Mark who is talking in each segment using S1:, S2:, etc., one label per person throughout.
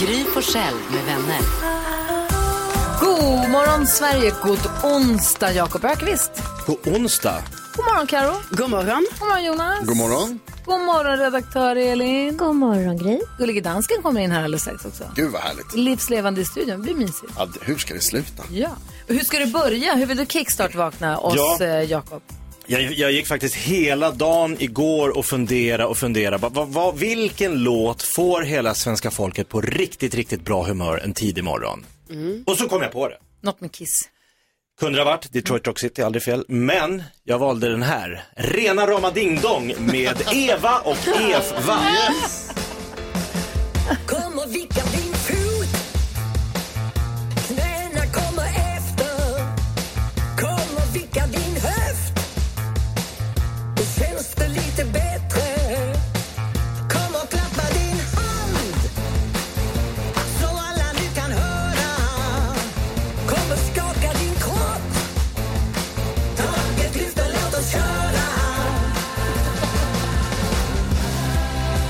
S1: Gry Forssell med vänner.
S2: God morgon Sverige, god onsdag Jakob Ökvist.
S3: På onsdag?
S2: God morgon Karo.
S4: God morgon.
S2: God morgon Jonas.
S3: God morgon.
S2: God morgon redaktör Elin.
S5: God morgon Gry.
S2: Gullige dansken kommer in här alldeles strax också.
S3: Gud vad härligt.
S2: Livslevande i studion, blir mysigt.
S3: Ja, hur ska det sluta?
S2: Ja. Hur ska du börja? Hur vill du kickstart-vakna oss
S3: Ja.
S2: eh, Jakob?
S6: Jag, jag gick faktiskt hela dagen igår och fundera och fundera. Va, va, va, vilken låt får hela svenska folket på riktigt, riktigt bra humör en tidig morgon? Och så kom jag på det.
S2: Något med Kiss.
S6: Kunde det ha varit Detroit Rock City, aldrig fel. Men jag valde den här. Rena rama ding dong med Eva och Eva.
S7: Kom och vicka din fot Knäna kommer efter Kom och vicka din höft Då känns det lite bättre Kom och klappa din hand Så alla nu kan höra Kom och skaka din kropp Taket lyfter, låt oss köra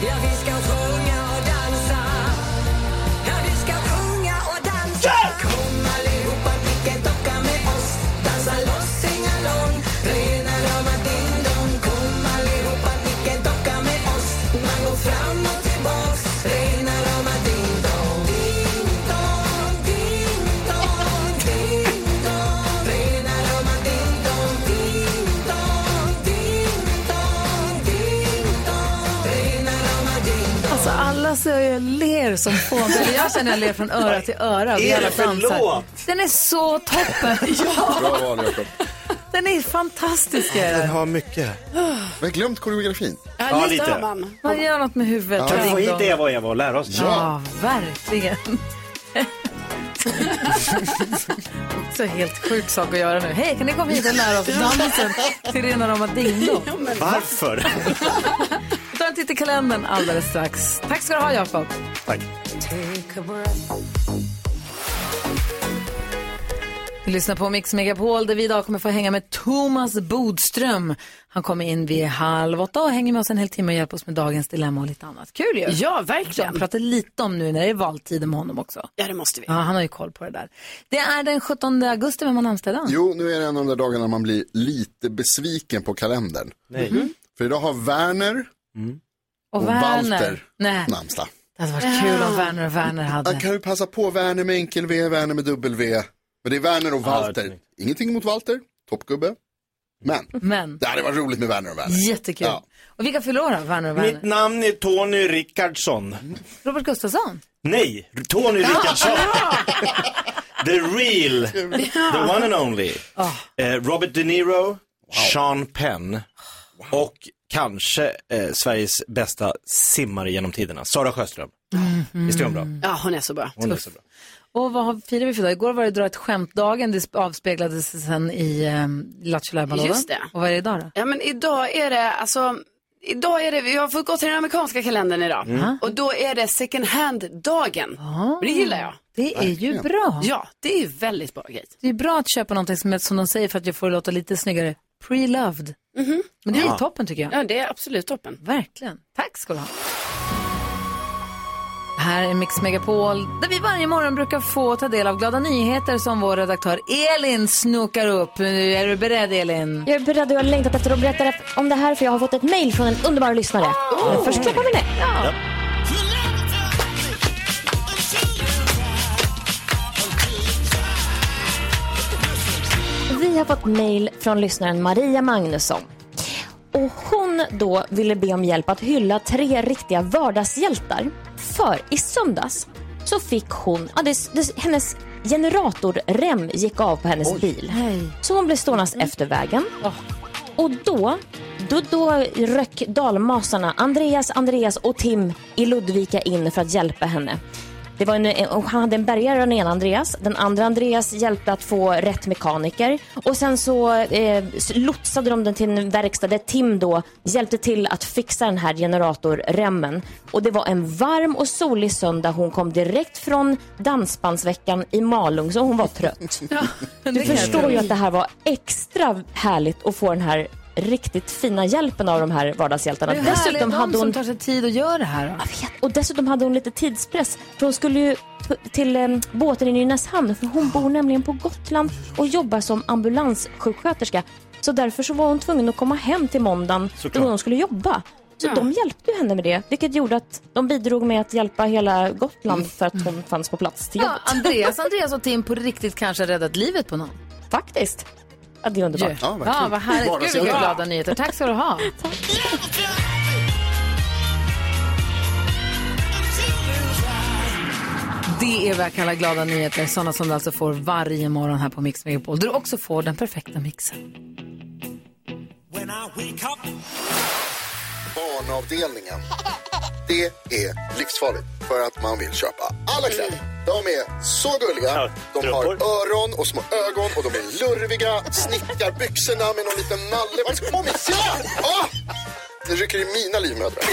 S7: Ja, vi ska sjunga och dansa Ja, vi ska sjunga och dansa Kom allihopa, nicka, docka med oss Dansa loss, sing along Rena rama ding-dong Kom allihopa, nicka, docka med oss Man går fram och tillbaks Rena rama ding-dong Ding-dong, ding-dong, ding-dong Rena rama ding-dong Ding-dong, ding-dong, ding-dong Rena rama ding-dong
S2: Alltså alla så jag ler som fågel. Eller Jag känner jag ler från öra till öra. Vi
S6: Är
S2: alla
S6: det för
S2: dansar.
S6: låt?
S2: Den är så toppen. ja,
S8: Bra val, Jakob.
S2: den är fantastisk. är den.
S3: har mycket.
S8: Vi har glömt koreografin.
S6: Ja, lite lite. har
S4: man.
S2: Man gör något med huvudet.
S6: Kan vi få hit
S2: Ding-dong.
S6: Eva och Eva och lära oss?
S2: Ja, verkligen. Så helt sjuk sak att göra nu. Hej, kan ni komma hit och lära oss dansen till rena rama dingdong?
S6: Varför?
S2: Vi tar en titt i kalendern alldeles strax. Tack ska du ha, Jakob.
S6: Tack.
S2: Vi lyssnar på Mix Megapol där vi idag kommer få hänga med Thomas Bodström. Han kommer in vid halv åtta och hänger med oss en hel timme och hjälper oss med dagens dilemma och lite annat. Kul ju!
S4: Ja,
S2: Jag
S4: verkligen.
S2: pratar lite om nu när det är valtider med honom också.
S4: Ja, det måste vi.
S2: Ja, han har ju koll på det där. Det är den 17 augusti, vem har namnsdag idag?
S8: Jo, nu är det en av de där dagarna man blir lite besviken på kalendern.
S6: Nej.
S2: Mm.
S6: Mm.
S8: För idag har Werner och, Walter
S2: Nej,
S8: namnsdag.
S2: det hade varit kul om Werner och Werner hade.
S8: Ah, Kan du passa på Werner med enkel V, Werner med dubbel V. Men det är Werner och
S6: det är
S8: Walter. Ingenting mot Walter, toppgubbe. Men
S2: Men,
S8: det hade varit roligt med Werner och Werner.
S2: jättekul.
S8: Ja.
S2: Och vilka fyller år då, Werner och Werner?
S6: Mitt namn är Tony Rickardsson.
S2: Robert Gustafsson?
S6: Nej, Tony Rickardsson. the real, the one and only.
S4: Ah.
S6: Eh, Robert De Niro, Sean Penn och kanske eh, Sveriges bästa simmare genom tiderna, Sara Sjöström. Visst är hon bra?
S4: Mm. Ja, hon är så bra.
S6: Hon är så bra.
S2: Och vad har- firar vi för dag? Igår var det dra ett skämt-dagen, det avspeglades sen i eh, Lattjo Lajban-lådan.
S4: Just det.
S2: Och vad är det idag då?
S4: Ja, men idag är det, alltså, idag är det, vi har fått gå till den amerikanska kalendern idag.
S2: Mm.
S4: Och då är det second hand-dagen. Men Det gillar jag.
S2: Ah. Det är ju bra.
S4: Ja, det är ju väldigt bra grej.
S2: Det är bra att köpa någonting som, är- som de säger för att jag får det låta lite snyggare, pre-loved. Men det är toppen tycker jag.
S4: Ja, det är absolut toppen.
S2: Verkligen. Tack ska du ha. Här är Mix Megapol där vi varje morgon brukar få ta del av glada nyheter som vår redaktör Elin snokar upp. Nu är du beredd Elin?
S5: Jag är beredd och jag har längtat efter att berätta om det här för jag har fått ett mejl från en underbar lyssnare. Men först släpper vi ner. Vi har fått mejl från lyssnaren Maria Magnusson. Och hon då ville be om hjälp att hylla tre riktiga vardagshjältar. För i söndags så fick hon, ja, det, det, hennes generatorrem gick av på hennes bil. Så hon blev ståendes efter vägen. Och då, då, då röck dalmasarna Andreas, Andreas och Tim i Ludvika in för att hjälpa henne. Det var en, eh, och han hade en bärgare och den ena Andreas. Den andra Andreas hjälpte att få rätt mekaniker. Och sen så eh, s- lotsade de den till en verkstad där Tim då hjälpte till att fixa den här generatorremmen. Och det var en varm och solig söndag. Hon kom direkt från dansbandsveckan i Malung, så hon var trött.
S9: det
S5: Du
S9: kan jag
S5: förstår
S9: tro.
S5: ju att det här var extra härligt att få den här riktigt fina hjälpen av de här vardagshjältarna.
S9: Det är härligt
S5: Dessutom
S9: de
S5: hade
S9: som
S5: hon
S9: tar sig tid att göra det här. då.
S5: och dessutom hade hon lite tidspress för hon skulle ju t- till em, båten i Nynäshamn för hon bor nämligen på Gotland och jobbar som ambulanssjuksköterska. Så därför så var hon tvungen att komma hem till måndagen då hon skulle jobba. Så
S9: Ja.
S5: de hjälpte ju henne med det, vilket gjorde att de bidrog med att hjälpa hela Gotland för att hon fanns på plats till
S9: Ja,
S5: jobbet.
S9: Andreas, Andreas och Tim på riktigt kanske har räddat livet på någon.
S5: Faktiskt. Ja, det är underbart.
S9: Ja, vad härligt. Gud, vilka glada nyheter. Tack ska du ha. Det är vad jag kallar glada nyheter, sådana som du alltså får varje morgon här på Mix Megapol, där du också får den perfekta mixen.
S8: Barnavdelningen. Det är livsfarligt för att man vill köpa alla kläder. De är så gulliga. De har öron och små ögon och de är lurviga. Snickar byxorna med någon liten nalle. Vad Kom igen! Ah! Det rycker i mina livmödrar.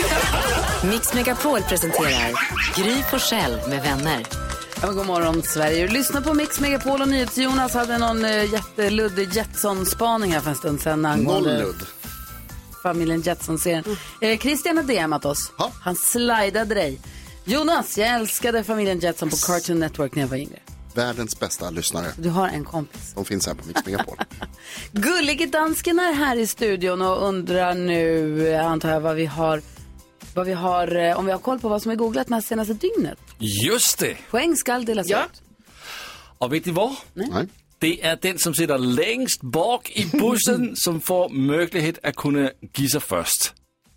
S1: Mix Megapol presenterar Gry Forssell med vänner.
S2: Ja, god morgon Sverige. Du lyssnar på Mix Megapol och NyhetsJonas hade någon eh, jätteluddig Jetson-spaning här för en stund sedan angående
S8: Nolludd.
S2: familjen Jetson-serien. Eh, Christian har DMat oss. Han slidade dig. Jonas, jag älskade familjen Jetson på Cartoon Network när jag var yngre.
S8: Världens bästa lyssnare.
S2: Du har en kompis.
S8: De finns här på Mix Megapol.
S2: Gullige dansken är här i studion och undrar nu, eh, antar jag, vad vi har, vad vi har eh, om vi har koll på vad som är googlat det senaste dygnet.
S10: Just det.
S2: Poäng skall delas ut.
S10: Och vet ni vad?
S8: Nej.
S10: Det är den som sitter längst bak i bussen som får möjlighet att kunna gissa först.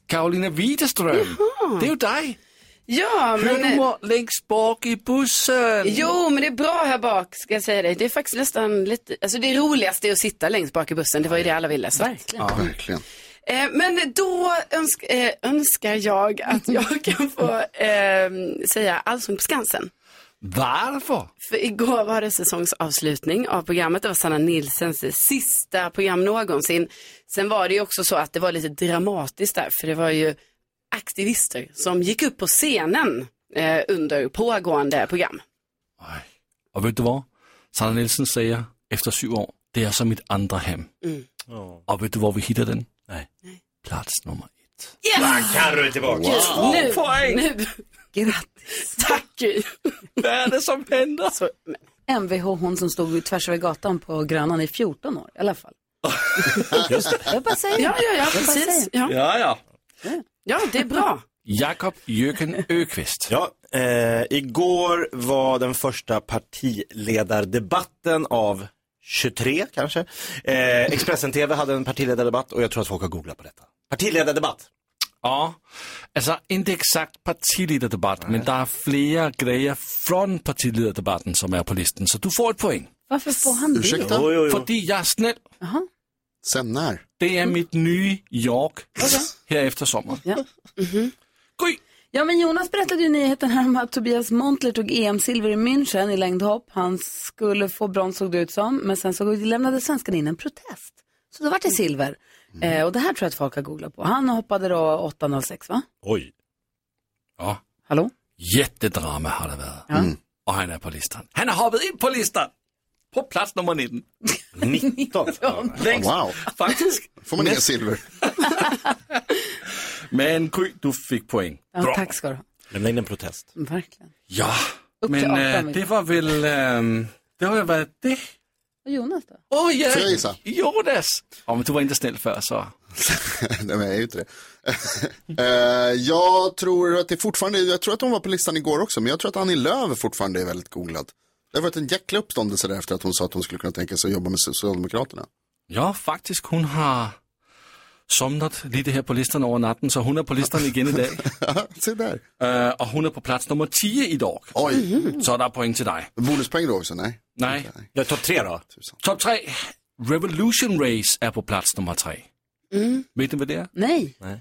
S10: Karolina Widerström. Det är ju dig.
S2: Ja,
S10: men... Hur mår längst bak i bussen?
S2: Jo, men det är bra här bak, ska jag säga dig. Det är faktiskt nästan lite, alltså det roligaste är att sitta längst bak i bussen. Det var ju det alla ville. Så. Verkligen.
S8: Ja, verkligen.
S2: Eh, men då önsk, eh, önskar jag att jag kan få eh, säga Allsång på Skansen.
S10: Varför?
S2: För igår var det säsongsavslutning av programmet. Det var Sanna Nilsens sista program någonsin. Sen var det ju också så att det var lite dramatiskt där, för det var ju aktivister som gick upp på scenen eh, under pågående program.
S10: Och vet du vad? Sanna Nielsen säger efter sju år, det är som mitt andra hem.
S2: Mm.
S10: Och vet du var vi hittar den? Nej. Plats nummer ett.
S2: Yes!
S10: Kan du tillbaka?
S2: Gud, nu, nu. Grattis. Tack Gry.
S10: Vad är det som händer?
S9: Mvh, hon som stod tvärs över gatan på Grönan i 14 år i alla fall.
S10: Just det.
S9: Jag bara säger det.
S2: Ja, ja, ja,
S9: Jag bara
S2: precis.
S9: säger det.
S2: Ja.
S10: Ja, ja.
S2: ja, det är bra.
S10: Jakob Jöken Öqvist.
S6: Ja, eh, igår var den första partiledardebatten av 23 kanske. Eh, Expressen TV hade en partiledardebatt och jag tror att folk har googlat på detta. Partiledardebatt.
S10: Ja, alltså inte exakt partiledardebatt, men det är flera grejer från partiledardebatten som är på listan, så du får ett poäng.
S9: Varför får han det?
S8: Ursäkta? Jo, jo, jo.
S10: För jag är snäll.
S8: Sen när?
S10: Det är mitt nya jag här efter sommaren.
S2: Ja. Ja, men Jonas berättade ju nyheten här om att Tobias Montler tog EM-silver i München i längdhopp. Han skulle få brons såg det ut som, men sen så lämnade svenskan in en protest. Så då vart det silver. Eh, och det här tror jag att folk har googlat på. Han hoppade då 8.06 va?
S10: Oj. Ja.
S2: Hallå?
S10: Jättedrama har det varit. Och han är på listan. Han har hoppat in på listan! På plats nummer 19.
S6: 19?
S10: Längst.
S8: Wow.
S10: Faktiskt.
S8: Får man inga silver?
S10: Men Gry, du fick poäng.
S2: Ja, tack ska du ha.
S6: Lämna in en protest.
S2: Verkligen.
S10: Ja,
S2: Upp
S10: men
S2: till
S10: eh,
S2: arton.
S10: det var väl... ehm, det har ju varit det.
S2: Och Jonas då?
S10: Åh, ja.
S8: Får jag gissa?
S10: Jonas! Ja, men du var inte snäll för så.
S8: Nej, men jag är ju inte det. Eh, jag tror att det fortfarande, jag tror att hon var på listan igår också, men jag tror att Annie Lööf fortfarande är väldigt googlad. Det har varit en jäkla uppståndelse där efter att hon sa att hon skulle kunna tänka sig att jobba med Socialdemokraterna.
S10: Ja, faktiskt, hon har somnat lite här på listan över natten, så hon är på listan igen idag.
S8: Se där.
S10: Eh, och hon är på plats nummer 10 idag.
S8: Oj,
S10: Mm-hmm. Så där är poäng till dig.
S8: bonuspoäng då också, nej.
S10: Nej,
S6: Jag tar tre då.
S10: topp tre. Revolution Race är på plats nummer tre. Vet ni vad det är?
S2: Nej.
S4: Mm.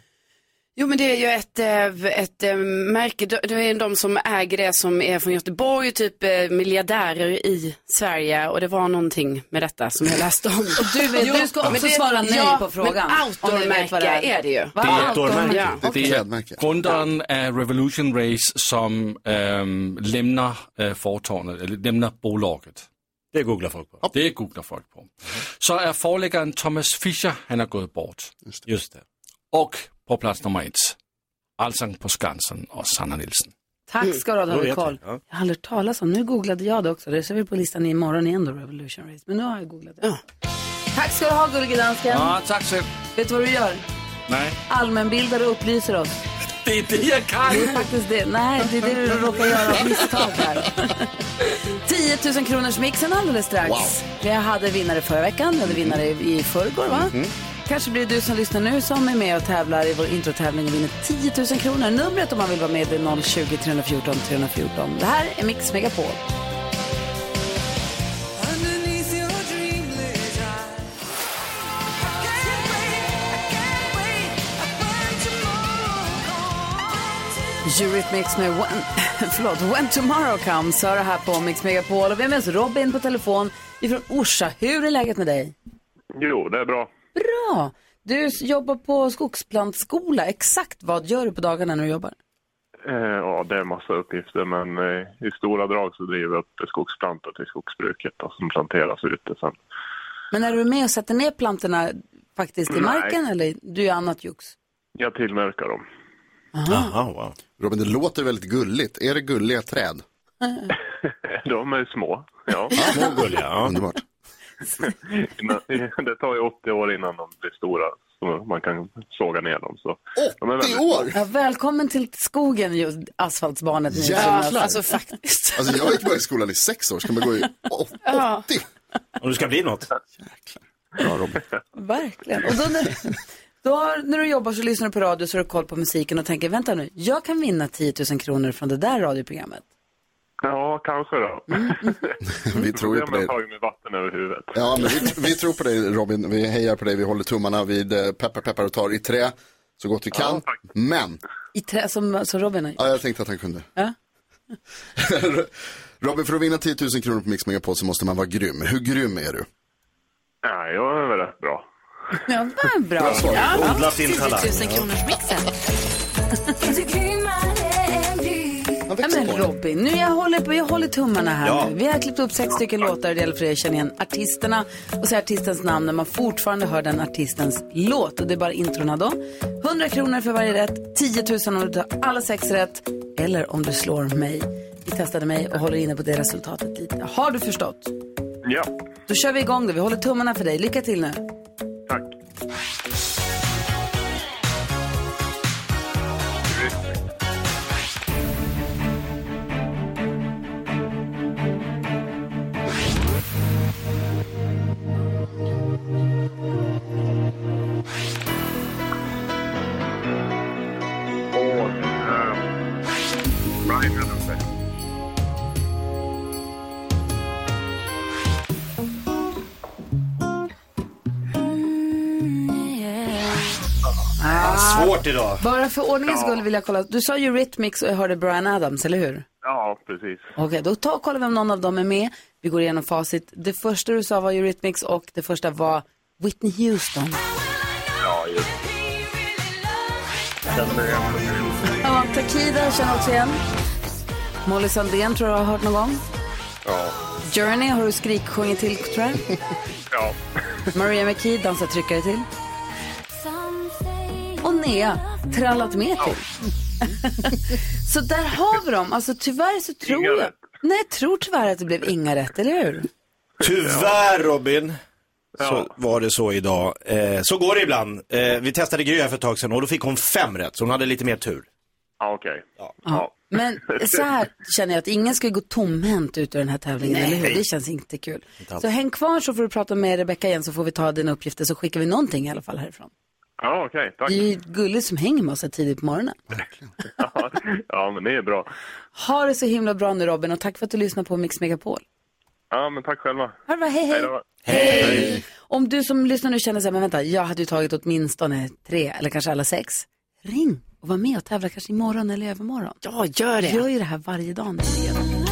S4: Jo men det är ju ett, eh, ett eh, märke, det det är de som äger det som är från Göteborg, typ eh, miljardärer i Sverige och det var någonting med detta som jag läste om.
S2: Och du vet- du ska också svara nej
S4: ja,
S2: på frågan,
S4: Men
S2: om du vet vad det
S4: outdoor-märke
S2: är.
S4: är det ju.
S2: Va? Det är ett
S4: Outdoor-märke. Ja.
S10: Det är grundaren av Revolution Race som ehm, lämnar äh, företaget, eller lämnar bolaget.
S6: Det googlar folk på.
S10: Det googlar folk på. Så är förläggaren Thomas Fischer, han har gått bort. Just
S6: det.
S10: Och på plats nummer ett, Allsång på Skansen och Sanna Nilsson.
S2: Tack ska du ha,
S10: Mm.
S2: du
S10: Då
S2: hade
S10: vet
S2: koll.
S10: jag, ja.
S2: Jag har aldrig hört talas om, nu googlade jag det också. Det ser vi på listan imorgon igen då, Revolution Race. Men nu har jag googlat det. Tack ska du ha, gullige dansken.
S10: Ja, tack själv.
S2: Vet du vad du gör?
S10: Nej.
S2: Allmänbildar och upplyser oss.
S10: Det är det jag kan!
S2: Det är faktiskt det. Nej, det är det du råkar göra av misstag här. 10 000 kronors mixen alldeles strax.
S7: Wow.
S2: Vi hade vinnare förra veckan, vi hade vinnare i förrgår va?
S7: Mhm.
S2: Kanske blir det du som lyssnar nu som är med och tävlar i vår introtävling och vinner 10 000 kronor. Numret om man vill vara med är 020 314 314. Det här är Mix Megapol. Eurythmics med when, förlåt, when Tomorrow Comes hör det här på Mix Megapol. Och vi har med oss Robin på telefon ifrån Orsa. Hur är läget med dig?
S11: Jo, det är bra.
S2: Bra! Du s- jobbar på skogsplantskola. Exakt vad gör du på dagarna när du jobbar?
S11: Eh, ja, det är massa uppgifter, men eh, i stora drag så driver jag upp skogsplantor till skogsbruket och som planteras ute sen.
S2: Men är du med och sätter ner plantorna faktiskt i
S11: Nej.
S2: marken eller du gör annat jox?
S11: Jag tillverkar dem.
S6: Aha, wow.
S8: Robin, det låter väldigt gulligt. Är det gulliga träd?
S11: De är små. Ja.
S6: Små gulliga, ja.
S8: Underbart.
S11: Innan- Det tar ju 80 år innan de blir stora, så man kan såga ner dem. Så. De är väldigt-
S2: Ja, välkommen till skogen, just asfaltsbarnet. ni,
S8: Jävlar.
S2: Jonas.
S8: Alltså,
S2: faktiskt.
S8: Alltså jag gick bara i skolan i sex år, ska man gå i...
S2: Ja,
S6: Om du ska bli något.
S8: Bra Robin.
S2: verkligen. Och då när, då har, när du jobbar så lyssnar du på radio så har du koll på musiken och tänker, vänta nu, jag kan vinna 10 000 kronor från det där radioprogrammet.
S11: Ja, kanske då.
S8: Vi tror ju på dig.
S11: Problemet har ju med vatten över huvudet.
S8: Ja, men vi, vi tror på dig Robin, vi hejar på dig, vi håller tummarna, vi eh, peppar peppar och tar i trä så gott vi kan. men,
S2: I trä, som, som Robin har gjort.
S8: ja, jag tänkte att han kunde.
S2: Ja.
S8: Robin, för att vinna 10 000 kronor på Mix Megapol så måste man vara grym. Hur grym är du?
S11: Nej, jag är väl rätt bra.
S2: Ja, vad bra.
S8: Bra svar.
S2: Ja.
S8: Odla sin talang.
S2: 10 000 kronor. Ja, men Robin, nu jag håller, på, jag håller tummarna här.
S7: Ja.
S2: nu. Vi har klippt upp sex stycken låtar och det gäller för er att känna igen artisterna och säga artistens namn när man fortfarande hör den artistens låt. Och det är bara introna då. 100 kronor för varje rätt, 10 000 om du tar alla sex rätt eller om du slår mig. Vi testade mig och håller inne på det resultatet lite. Har du förstått?
S11: Ja,
S2: Då kör vi igång det. Vi håller tummarna för dig. Lycka till nu.
S11: tack. Åh, eh, Brian Adams.
S2: Ah.
S6: Svårt idag.
S2: Bara för ordningens
S11: Ja.
S2: skull vill jag kolla. Du sa ju Rhythmics och jag hörde Brian Adams, eller hur?
S11: Ja, precis.
S2: Okej, då ta och kolla vem någon av dem är med. Vi går igenom facit. Det första du sa var Eurythmics och det första var Whitney Houston.
S11: Ja, just Den är...
S2: Ja, Takida känner jag också igen. Molly Sandén tror jag har hört någon gång.
S11: Ja.
S2: Journey har du skriksjungit till, tror jag.
S11: Ja.
S2: Maria McKee dansar tryckare till. Och Nea trallat med till. så där har vi dem. Alltså tyvärr så tror
S6: Inga
S2: jag...
S6: rätt.
S2: Nej, jag tror tyvärr att det blev inga rätt, eller hur?
S6: Tyvärr Robin, så var det så idag. Eh, så går det ibland. Eh, vi testade Gry här för ett tag sedan och då fick hon fem rätt, så hon hade lite mer tur.
S11: Ja, okej.
S2: Ja. Men så här känner jag att ingen ska gå tomhänt ut ur den här tävlingen,
S7: Nej.
S2: eller hur? Det känns inte kul.
S7: Inte alls.
S2: så häng kvar så får du prata med Rebecka igen så får vi ta dina uppgifter så skickar vi någonting i alla fall härifrån.
S11: Ja, okej.
S2: Det är ju gulligt som hänger med oss här tidigt på morgonen.
S11: tack. ja, men det är bra.
S2: Ha det så himla bra nu Robin och tack för att du lyssnar på Mix Megapol.
S11: Ja, men tack själva.
S2: Ha det bra, hej hej.
S11: då.
S2: Om du som lyssnar nu känner så här, men vänta, jag hade ju tagit åtminstone tre eller kanske alla sex. ring och var med och tävla kanske imorgon eller i övermorgon.
S4: Ja, gör det.
S2: Gör ju det här varje dag nämligen.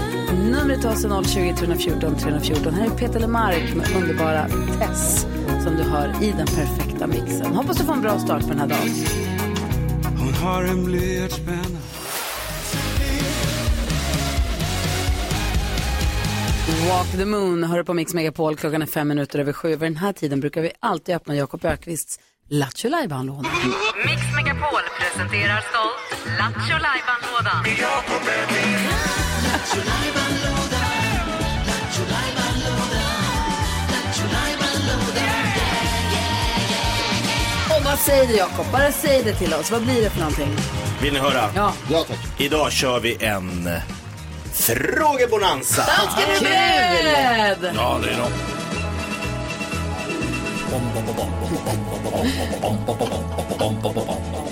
S2: Numret till oss är alltså 020 314 314. Här är Peter Lemark med underbara Tess som du hör i den perfekta mixen. Hoppas du får en bra start på den här dagen.
S7: Hon har en blyertspenna.
S2: Walk the Moon hör du på Mix Megapol. Klockan är fem minuter över sju. Vid den här tiden brukar vi alltid öppna Jakob Ökvists Lattjo Lajban-låda.
S7: Mix Megapol presenterar stolt Lattjo Lajban-lådan.
S2: Och vad säger du Jakob? Bara säg det till oss. Vad blir det för någonting?
S6: Vill ni höra?
S2: Ja.
S6: ja tack. Idag kör vi en eh, frågebonanza.
S2: Kul!
S6: Ja, det är de.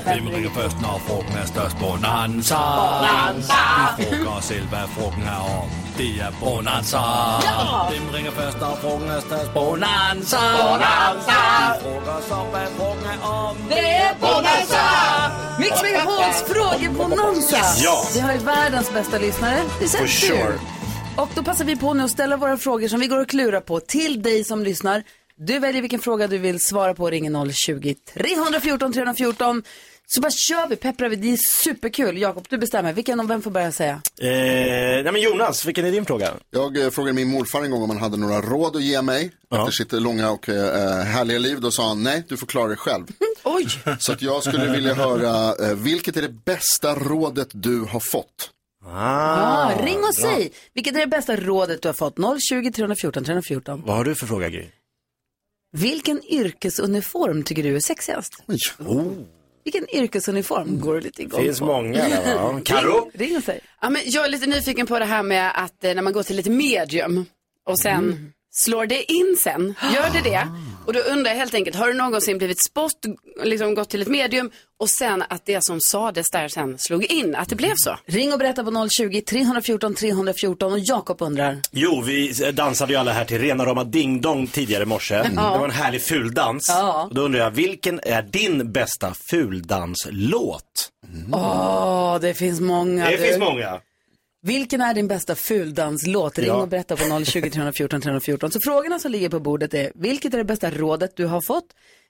S7: Vem ringer först när frågan är störst? Bonanza!
S12: Bonanza!
S7: Vi frågar oss själva vad frågan är om. Det är bonanza!
S12: Ja!
S7: Vem ringer först när frågan är störst? Bonanza!
S12: Bonanza!
S7: Vi frågar oss om vad frågan är om.
S2: Det är bonanza! Mix Megapols frågebonanza!
S7: Yes. Ja.
S2: Vi har ju världens bästa lyssnare. Det
S7: For
S2: känns
S7: sure.
S2: kul. Och då passar vi på nu att ställa våra frågor som vi går och klurar på till dig som lyssnar. Du väljer vilken fråga du vill svara på och ringer 020 314 314. Så bara kör vi, pepprar vi. Det är superkul. Jakob, du bestämmer. Vilken och vem får börja säga?
S6: Eh, nej men Jonas, vilken är din fråga?
S8: Jag eh, frågade min morfar en gång om han hade några råd att ge mig efter sitt långa och eh, härliga liv. Då sa han nej, du får klara dig själv.
S2: Oj!
S8: Så att jag skulle vilja höra, eh, vilket är det bästa rådet du har fått?
S2: Ah, ring och säg. Vilket är det bästa rådet du har fått? 020 314 314.
S6: Vad har du för fråga Gry?
S2: Vilken yrkesuniform tycker du är sexigast? Mm. Vilken yrkesuniform går du lite igång
S6: Mm. Finns
S2: på?
S6: många där, va? Karo?
S2: Ring, ring och säg.
S4: Ja, men jag är lite nyfiken på det här med att eh, när man går till lite medium och sen
S2: Mm.
S4: slår det in sen, gör det det? Och då undrar jag helt enkelt, har du någonsin blivit spott, liksom gått till ett medium och sen att det som sades där sen slog in, att det blev så?
S2: Ring och berätta på 020 314 314 och Jakob undrar.
S6: Jo, vi dansade ju alla här till rena rama Ding Dong tidigare i morse. Det var en härlig fuldans.
S2: Ja.
S6: Och Då undrar jag, vilken är din bästa fuldanslåt?
S2: Åh, det finns många.
S6: det
S2: du.
S6: finns många.
S2: Vilken är din bästa fuldanslåt? Ring
S6: Ja.
S2: och berätta på 020 314 314. Så frågorna som ligger på bordet är, vilket är det bästa rådet du har fått?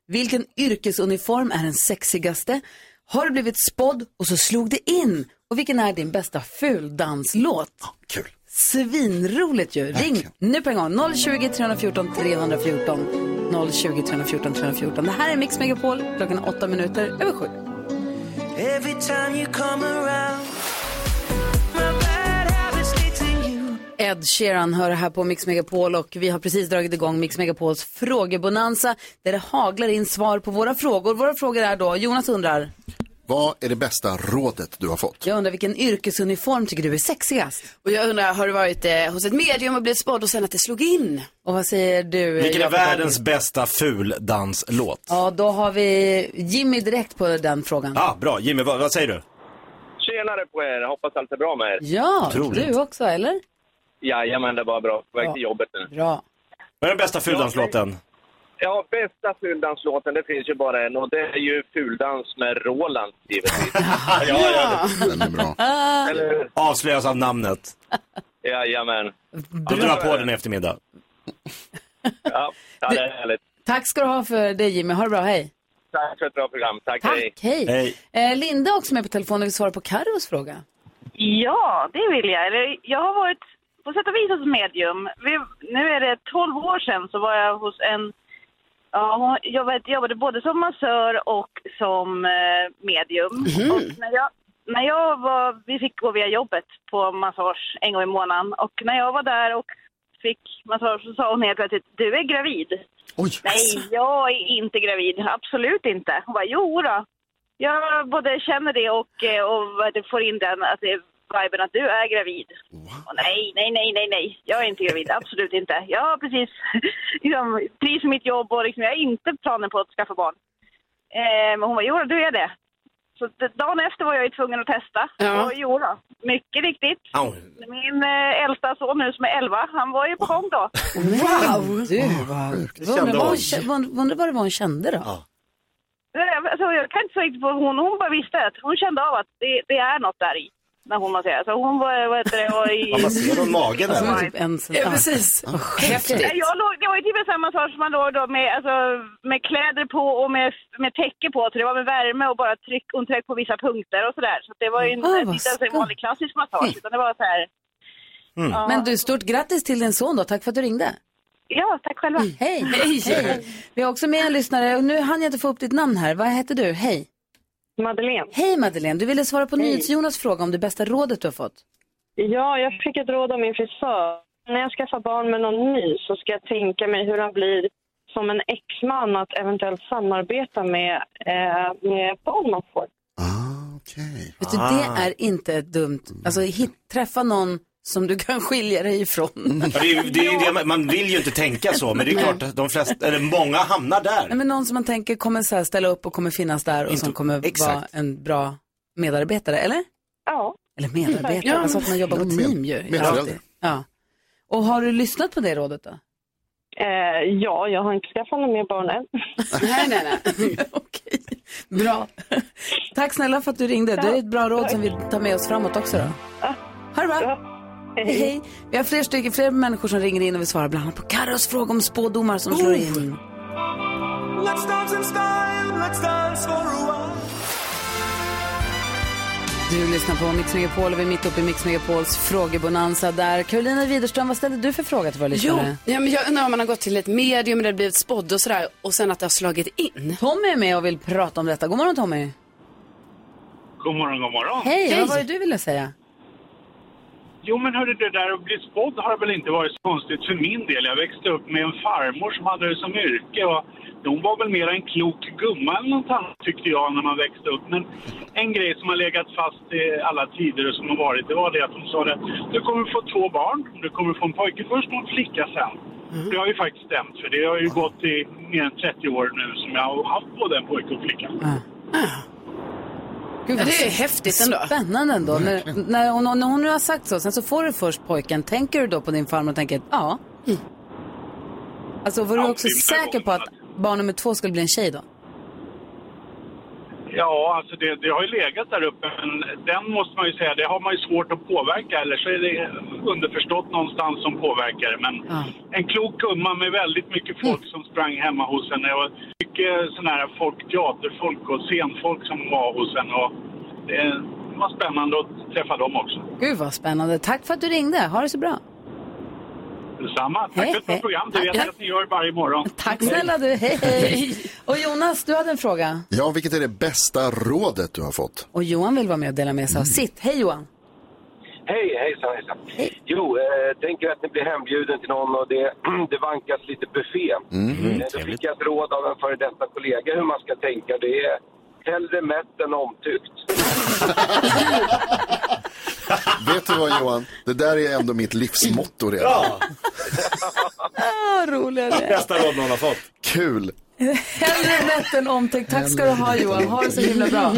S2: Vilken yrkesuniform är den sexigaste? Har du blivit spådd och så slog det in? Och vilken är din bästa fuldanslåt?
S8: Kul.
S2: Svinroligt ju. Ring nu på en gång. 020 314 314. 020 314 314. Det här är Mix Megapol. Klockan är åtta minuter över sju.
S7: Every time you come around My bad habits lead to you
S2: Ed Sheeran hör här på Mix Megapol och vi har precis dragit igång Mix Megapols frågebonanza där det haglar in svar på våra frågor. Våra frågor är då, Jonas undrar,
S8: Vad är det bästa rådet du har fått?
S2: jag undrar vilken yrkesuniform tycker du är sexigast?
S4: Och jag undrar, har du varit eh, hos ett medium och blivit spådd och sen att det slog in?
S2: Och vad säger du? eh,
S6: Vilken är
S2: Jakob?
S6: världens bästa fuldanslåt?
S2: Ja, då har vi Jimmy direkt på den frågan.
S6: Ah, bra, Jimmy, vad, vad säger du?
S13: Tjenare på er! Hoppas allt är bra med er.
S2: Ja, du också eller?
S13: Jajamän, det var bra. På väg till jobbet nu.
S2: Bra.
S6: Vad är den bästa fuldanslåten?
S13: Ja, bästa fuldanslåten, det finns ju bara en och det är ju Fuldans med Roland, givetvis.
S6: ja, ja,
S8: Den är bra.
S2: Ah.
S13: Eller,
S6: Avslöjas av namnet.
S13: jajamän.
S6: Du drar på den i eftermiddag.
S13: Ja, ja, det är härligt.
S2: Tack ska du ha för det Jimmy, ha det bra, hej.
S13: Tack för ett bra program. Tack,
S2: Tack, hej. Eh, Linda är också med på telefonen och vill svara på Carros fråga.
S14: Ja, det vill jag. Eller, jag har varit på sätt och vis hos medium. Vi, nu är det 12 år sedan så var jag hos en... Ja, hon- jag vet, jobbade både som massör och som eh, medium. Och när jag, när jag var, vi fick gå via jobbet på massage en gång i månaden och när jag var där och fick massage så sa hon helt plötsligt du är gravid. Nej, jag är inte gravid. Absolut inte. Hon bara, jo då. Jag både känner det och, eh, och vad det får in den att det är viben att du är gravid. Och nej, nej, nej, nej, nej. Jag är inte gravid. Absolut inte. Jag har precis liksom, trivs med mitt jobb och liksom, jag har inte planer på att skaffa barn. Eh, men hon bara, jo då, du är det. Så d- dagen efter var jag ju tvungen att testa.
S7: Ja.
S14: Och jo då, mycket riktigt. Min eh, äldsta son nu som är 11, han var ju på gång då.
S2: Wow! Du, vad... Undrar vad hon kä- vad- undrar vad det var hon kände då?
S14: Alltså, jag kan inte säga riktigt på hon. Hon bara visste att hon kände av att det, det är något där i. När hon masserade. Så hon var, vad heter det, var i...
S6: Ja, vad ser hon? Magen
S14: Alltså,
S6: eller?
S14: hon är typ
S2: ensam.
S4: Ja, precis.
S6: Ja.
S4: Häftigt.
S14: Jag låg, det var ju typ en sån här massage som man låg då med, alltså, med kläder på och med, med täcke på. Så det var med värme och bara tryck, och tryck på vissa punkter och sådär. Så det var ju en,
S2: Ah, vad
S14: inte ens en vanlig klassisk massage. Utan det var så här...
S2: Mm.
S14: Ja.
S2: Men du, stort grattis till din son då. Tack för att du ringde. Mm.
S14: Ja, tack själva.
S2: Hej.
S14: Hej.
S2: Hej. Vi har också med en lyssnare. Och Nu hann jag inte få upp ditt namn här. Vad heter du? Hej.
S15: Madeleine.
S2: Hej Madeleine. Du ville svara på
S15: Hej.
S2: NyhetsJonas fråga om det bästa rådet du har fått.
S15: Ja, jag fick ett råd av min frisör. När jag skaffar barn med någon ny så ska jag tänka mig hur han blir som en exman att eventuellt samarbeta med, eh, med barn man får.
S2: Vet du,
S6: Ah.
S2: det är inte ett dumt. Alltså hit, träffa någon som du kan skilja dig ifrån.
S6: Ja, det är, ju- det är ju det, man- man vill ju inte tänka så, men det är klart att de flesta, eller många hamnar där.
S2: Nej, men någon som man tänker kommer så här ställa upp och kommer finnas där och som kommer
S6: exakt.
S2: vara en bra medarbetare, eller?
S15: Ja.
S2: Eller medarbetare,
S15: Ja.
S2: alltså att man jobbar på
S15: Ja, med-
S2: team ju.
S15: medförälder.
S2: Ja. Och har du lyssnat på det rådet då?
S15: Eh, ja, jag har inte skaffat några mer barn än.
S2: nej, nej, nej. Okej, bra. Tack snälla för att du ringde. Det är ett bra råd som vi tar med oss framåt också då.
S15: Ah.
S2: Ha det bra. Hej, hej. Vi har fler, stycken, fler människor som ringer in och vi svarar bland annat på Carros fråga om spådomar som slår
S15: Oh.
S2: in.
S7: Let's dance in style, let's dance for a while
S2: Du lyssnar på Mix Megapol och vi är mitt uppe i Mix Megapols frågebonanza där. Carolina Widerström, vad ställde du för fråga till våra
S4: Jo,
S2: lyssnare?
S4: ja, men jag undrar om man har gått till ett medium där det blivit spådd och sådär och sen att det har slagit in.
S2: Tommy är med och vill prata om detta. God morgon Tommy.
S16: God morgon, god morgon.
S2: Hej, vad var det du ville säga?
S16: Jo, men hörru, det där att bli spådd har väl inte varit så konstigt för min del. Jag växte upp med en farmor som hade det som yrke och hon var väl mer en klok gumma eller något annat tyckte jag när man växte upp. Men en grej som har legat fast i alla tider och som har varit, det var det att hon sa det. Du kommer få två barn. Du kommer få en pojke först och en flicka sen. Det har ju faktiskt stämt för det har ju gått i mer än 30 år nu som jag har haft både en pojke och flicka.
S2: Gud,
S4: Ja,
S2: vad
S4: det är häftigt ändå.
S2: Spännande ändå. När, när, hon, när hon nu har sagt så, sen så får du först pojken. Tänker du då på din farmor och tänker, ja.
S4: Mm.
S2: Alltså var du också säker på att barn nummer två skulle bli en tjej då?
S16: Ja, alltså det, det har ju legat där uppe, men den måste man ju säga, det har man ju svårt att påverka. Eller så är det underförstått någonstans som påverkar det. Men en klok gumma med väldigt mycket folk som sprang hemma hos henne. Och mycket sådana här folk, teaterfolk och scenfolk som var hos henne. Och det var spännande att träffa dem också.
S2: Gud vad spännande. Tack för att du ringde. Ha det så bra.
S16: Detsamma. Tack
S2: Hej,
S16: för ett bra
S2: hej.
S16: program. Det vet jag att ni gör varje morgon.
S2: Tack snälla du. Hej, hej. Och Jonas, du hade en fråga.
S8: Ja, vilket är det bästa rådet du har fått?
S2: Och Johan vill vara med och dela med sig av sitt. Hej Johan.
S17: Hej, hejsan, hejsan. Jo, eh, tänker att ni blir hembjuden till någon och det, det vankas lite buffé.
S7: Mm,
S17: eh, då fick jag ett råd av en före detta kollega hur man ska tänka. Det är hellre mätt än omtyckt.
S8: Vet du vad Johan? Det där är ändå mitt livsmotto redan.
S6: Ja.
S2: Ah, roligare.
S6: Bästa råd någon har fått.
S8: Kul.
S2: Hellre mätt än omtäckt. Tack ska du ha Johan. Ha det så himla bra.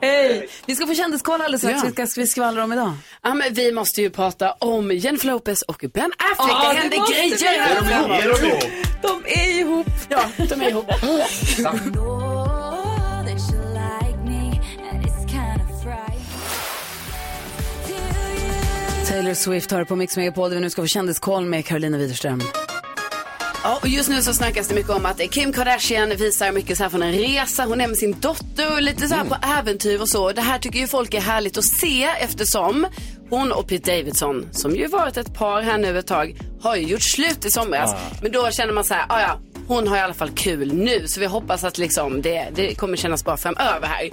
S2: Hej. Vi ska få kändiskollen alldeles strax. Vi ska vi skvallra om idag?
S4: Ja, men vi måste ju prata om Jennifer Lopez och Ben Affleck.
S2: Ja,
S4: det
S2: det
S4: händer
S2: måste vi
S4: grejer.
S2: göra. Är de- är de ihop?
S4: De är ihop. Ja, de är ihop.
S2: Taylor Swift hör på Mix Megapol där vi nu ska få kändiskoll med Carolina Widerström.
S4: Ja, och just nu så snackas det mycket om att Kim Kardashian visar mycket så här från en resa. Hon är med sin dotter och lite så här på äventyr och så. Det här tycker ju folk är härligt att se eftersom hon och Pete Davidson, som ju varit ett par här nu ett tag, har ju gjort slut i somras.
S1: Ah.
S4: Men då känner man så här, "Ah, ja, hon har i alla fall kul nu. Så vi hoppas att liksom det, det kommer kännas bra framöver här.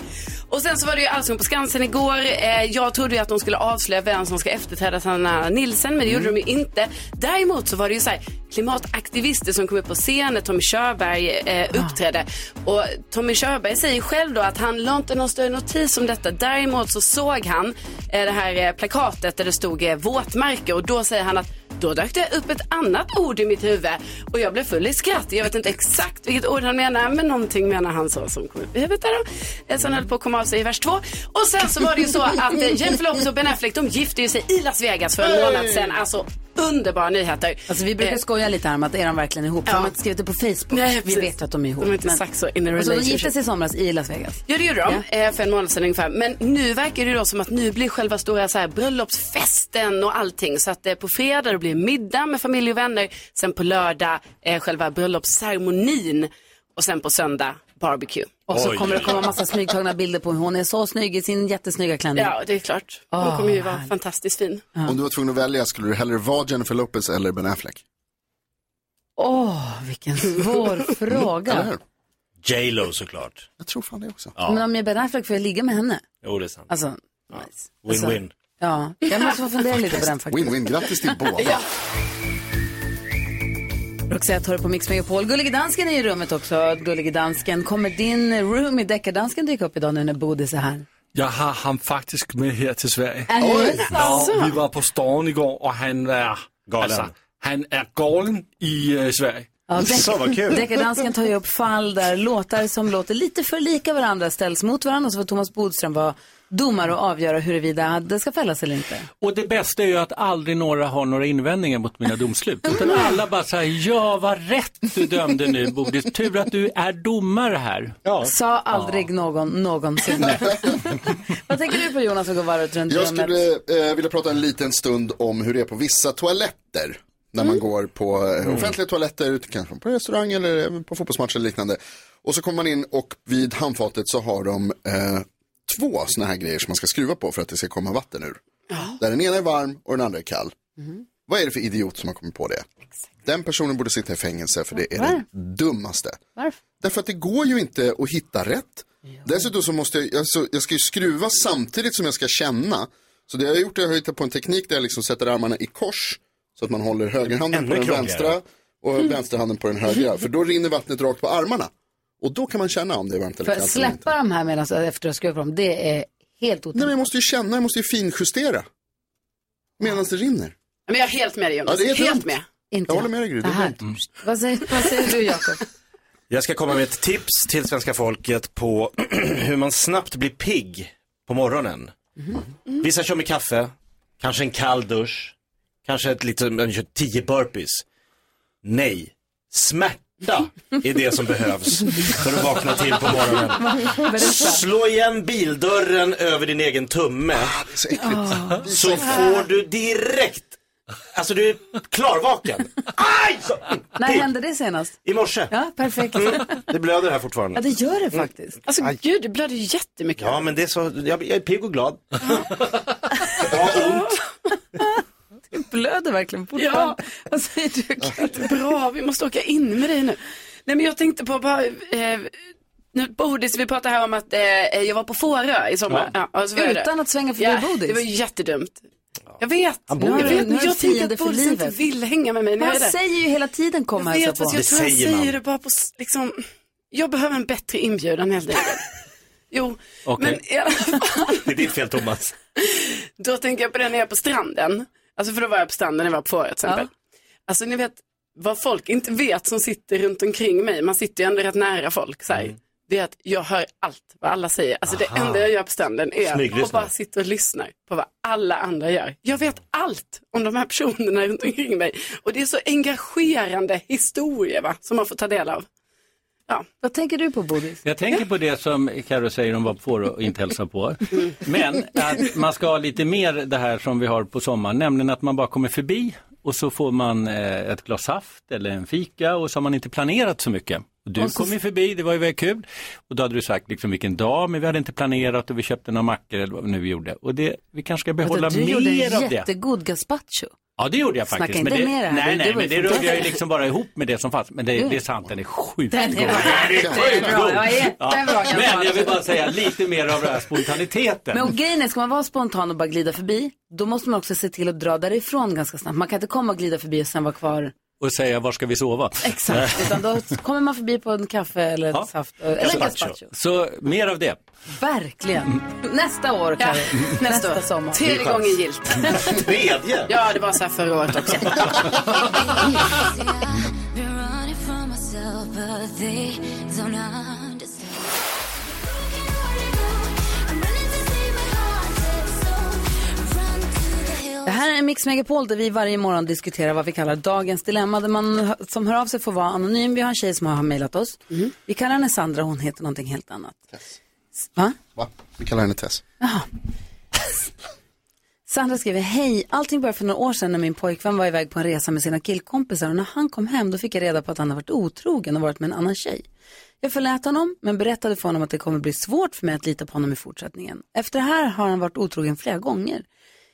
S4: Och sen så var det ju Allsång på Skansen igår. Eh, jag trodde ju att de skulle avslöja vem som ska efterträda Sanna Nilsen, men det gjorde de ju inte. Däremot så var det ju så här, klimataktivister som kom upp på scenen. Tommy Körberg eh, uppträdde. Och Tommy Körberg säger själv då att han la inte någon större notis om detta. Däremot så såg han eh, det här eh, plakatet där det stod eh, våtmarker och då säger han att då dök det upp ett annat ord i mitt huvud och jag blev full i skratt. Jag vet inte exakt vilket ord han menar, men någonting menar han så som kom upp i huvudet där då. Eh, Som höll på att komma av sig i vers två. Och sen så var det ju så att eh, Jennifer Lopez och Ben Affleck, de gifte ju sig i Las Vegas för en
S1: Hey!
S4: månad sedan. Alltså underbara nyheter.
S2: Alltså, vi brukar
S4: Eh,
S2: skoja lite här om att är de verkligen ihop? För
S4: Ja.
S2: De har inte skrivit det på Facebook.
S4: Nej,
S2: vi
S4: precis.
S2: vet ju att de är ihop.
S4: De är inte saxo in a
S2: Och så de
S4: relationship.
S2: gifte sig i somras i Las Vegas.
S4: Ja, det gjorde de. eh, För en månad sedan ungefär. Men nu verkar det då som att nu blir själva stora så här, bröllopsfesten och allting. Så att eh, på fredag det blir middag med familj och vänner. Sen på lördag eh, själva bröllopsceremonin. Och sen på söndag barbecue.
S2: Och så
S4: Oj.
S2: kommer det komma massa smygtagna bilder på hur hon är så snygg i sin jättesnygga klänning.
S4: Ja, det är klart. Hon
S2: Åh,
S4: kommer ju vara fantastiskt fin.
S8: Om du var tvungen att välja, skulle du hellre vara Jennifer Lopez eller Ben Affleck?
S2: Åh, vilken svår
S8: Eller
S2: fråga.
S8: hur?
S6: J.Lo såklart.
S8: Jag tror fan det också.
S2: Men om jag är Ben Affleck får jag ligga med henne.
S6: Jo, det är sant.
S2: Alltså,
S6: Win-win.
S2: ja, jag måste få fundera lite på den faktiskt.
S8: Win-win, grattis till båda.
S2: Roxette hör på Mix Megapol. Gullige dansken är i rummet också. Gullige dansken, kommer din room i deckardansken dyka upp idag nu när Bodis är här?
S10: Jag har ham faktisk med her til Sverige.
S2: Er det Oj.
S10: Ja,
S2: så?
S10: vi var på Storm i går, og han er...
S6: Galen.
S10: han er galen i øh, Sverige.
S2: däck- Deckardansken tar ju upp fall där låtar som låter lite för lika varandra ställs mot varandra och så får Thomas Bodström vara domare och avgöra huruvida det ska fällas eller inte.
S18: Och det bästa är ju att aldrig några har några invändningar mot mina domslut. Utan alla bara säger, ja vad rätt du dömde nu Bodis, tur att du är domare här. Ja.
S2: Sa aldrig någon någonsin. Vad tänker du på Jonas som går varvet runt
S8: Jag
S2: rummet?
S8: skulle eh, vilja prata en liten stund om hur det är på vissa toaletter. När man
S2: Mm.
S8: går på eh, offentliga toaletter, ute kanske på restaurang eller även på fotbollsmatcher eller liknande. Och så kommer man in och vid handfatet så har de eh, två sådana här grejer som man ska skruva på för att det ska komma vatten ur. Där den ena är varm och den andra är kall. Vad är det för idiot som har kommit på det? Den personen borde sitta i fängelse för det är
S2: Varför?
S8: det dummaste.
S2: Varför?
S8: Därför att det går ju inte att hitta rätt. Dessutom så måste jag, alltså, jag ska ju skruva samtidigt som jag ska känna. Så det jag har gjort är att jag har hittat på en teknik där jag liksom sätter armarna i kors. Så att man håller högerhanden på
S6: Ännu
S8: den
S6: krångligare.
S8: vänstra
S2: Mm.
S8: och vänsterhanden på den högra. För då rinner vattnet rakt på armarna. Och då kan man känna om det är varmt eller
S2: För
S8: kallt.
S2: att
S8: eller inte.
S2: släppa de här medan efter att jag skruvar på dem, det är helt otroligt.
S8: Nej men jag måste ju känna, jag måste ju finjustera. Medan det rinner.
S4: Men jag är helt med dig Jonas.
S8: Ja, det är
S4: helt
S8: dumt.
S4: med.
S8: Jag håller med dig Gry, det
S2: Det här.
S8: är dumt.
S2: Vad säger, vad säger du Jakob?
S6: Jag ska komma med ett tips till svenska folket på hur man snabbt blir pigg på morgonen.
S2: Mm-hmm.
S6: Vissa kör med kaffe, kanske en kall dusch, kanske ett litet, man kör tio burpees. Nej, smärta är det som behövs för att vakna till på morgonen. Slå igen bildörren över din egen tumme.
S8: så,
S2: Ah.
S7: äckligt.
S6: så får du direkt, alltså du är klarvaken. Aj! Så-
S2: När hände det senast?
S6: I morse.
S2: Ja, perfekt.
S6: Mm. Det blöder här
S2: Ja,
S6: fortfarande. Mm.
S2: det gör det faktiskt.
S4: Alltså gud, det blöder ju jättemycket.
S6: Ja, men det är så, jag, jag är pigg och glad.
S2: Det blöder verkligen
S4: Ja,
S2: fortfarande. vad säger du?
S4: Gud, Bra, vi måste åka in med dig nu. Nej men jag tänkte på bara, eh, nu Bodis, vi pratade här om att eh, jag var på Fårö i sommar.
S2: Ja.
S4: och så var jag där.
S2: Utan att svänga förbi
S4: ja,
S2: Bodis?
S4: Det var ju jättedumt. Jag vet,
S2: Han bor
S4: jag,
S2: ju där.
S4: vet
S2: Nu
S4: men
S2: är du
S4: jag tänkte
S2: fiende
S4: att
S2: för
S4: Bodis inte
S2: livet.
S4: vill hänga med mig när
S2: Men
S4: jag
S2: han
S4: är där.
S2: säger ju hela tiden kom och
S4: Jag
S2: hälsa
S4: vet, fast
S2: på.
S4: jag tror jag säger det bara på, s- liksom, jag behöver en bättre inbjudan helt enkelt. jo,
S6: Okej.
S4: men i alla
S6: Det är ditt fel Thomas.
S4: Då tänker jag på det när jag är på stranden. Alltså för då var jag på stranden när jag var på Fårö till exempel. Alltså ni vet vad folk inte vet som sitter runt omkring mig. Man sitter ju ändå rätt nära folk så här. Det är att jag hör allt vad alla säger. Alltså det
S6: Mm. Aha.
S4: enda jag gör på stranden är att
S6: Smyglyssnar.
S4: bara sitta och lyssna på vad alla andra gör. Jag vet allt om de här personerna runt omkring mig. Och det är så engagerande historier va, som man får ta del av. Ja.
S2: Vad tänker du på Bodis?
S18: Jag tänker på det som Karo säger om vad får och inte hälsa på. Men att man ska ha lite mer det här som vi har på sommaren, nämligen att man bara kommer förbi och så får man eh, ett glas saft eller en fika och så har man inte planerat så mycket. Och Du
S19: Och så-
S18: kom ju förbi, det var ju väldigt kul. Och då hade du sagt liksom vilken dag, men vi hade inte planerat och vi köpte några mackor eller vad vi nu gjorde. Och det, vi kanske ska behålla
S2: du gjorde en
S18: mer av det.
S2: jättegod gazpacho.
S18: Ja det gjorde jag
S2: Snacka
S18: faktiskt.
S2: inte
S18: men det,
S2: mer här,
S18: nej,
S2: det- det
S18: nej,
S2: var
S18: men
S2: ju
S18: det rörde jag ju
S2: fantastiskt.
S18: liksom bara ihop med det som fanns. Men det,
S2: Jo.
S18: det är sant, den är sjukt
S2: Den är
S18: god.
S2: bra. Den är bra. Ja, jättebra,
S18: Ja. Men jag vill bara säga lite mer av den här spontaniteten.
S2: Men och grejen är, ska man vara spontan och bara glida förbi, då måste man också se till att dra därifrån ganska snabbt. Man kan inte komma och glida förbi och sen vara kvar.
S18: Och säga var ska vi sova?
S2: Exakt, utan då kommer man förbi på en kaffe eller ett saft. Eller en gazpacho.
S18: Så mer av det.
S2: Verkligen. Nästa år, Karin. nästa, sommar.
S4: Tredje gången gilt.
S6: Tredje?
S4: Ja, det var så här förra året också.
S2: Det här är Mix Megapol där vi varje morgon diskuterar vad vi kallar dagens dilemma. Där man som hör av sig får vara anonym. Vi har en tjej som har mejlat oss. Vi kallar henne Sandra, hon heter någonting helt annat. Va?
S8: Va? Vi kallar henne Tess.
S2: Ah. Sandra skriver, hej, allting började för några år sedan när min pojkvän var iväg på en resa med sina killkompisar och när han kom hem då fick jag reda på att han har varit otrogen och varit med en annan tjej. Jag förlät honom men berättade för honom att det kommer bli svårt för mig att lita på honom i fortsättningen. Efter det här har han varit otrogen flera gånger.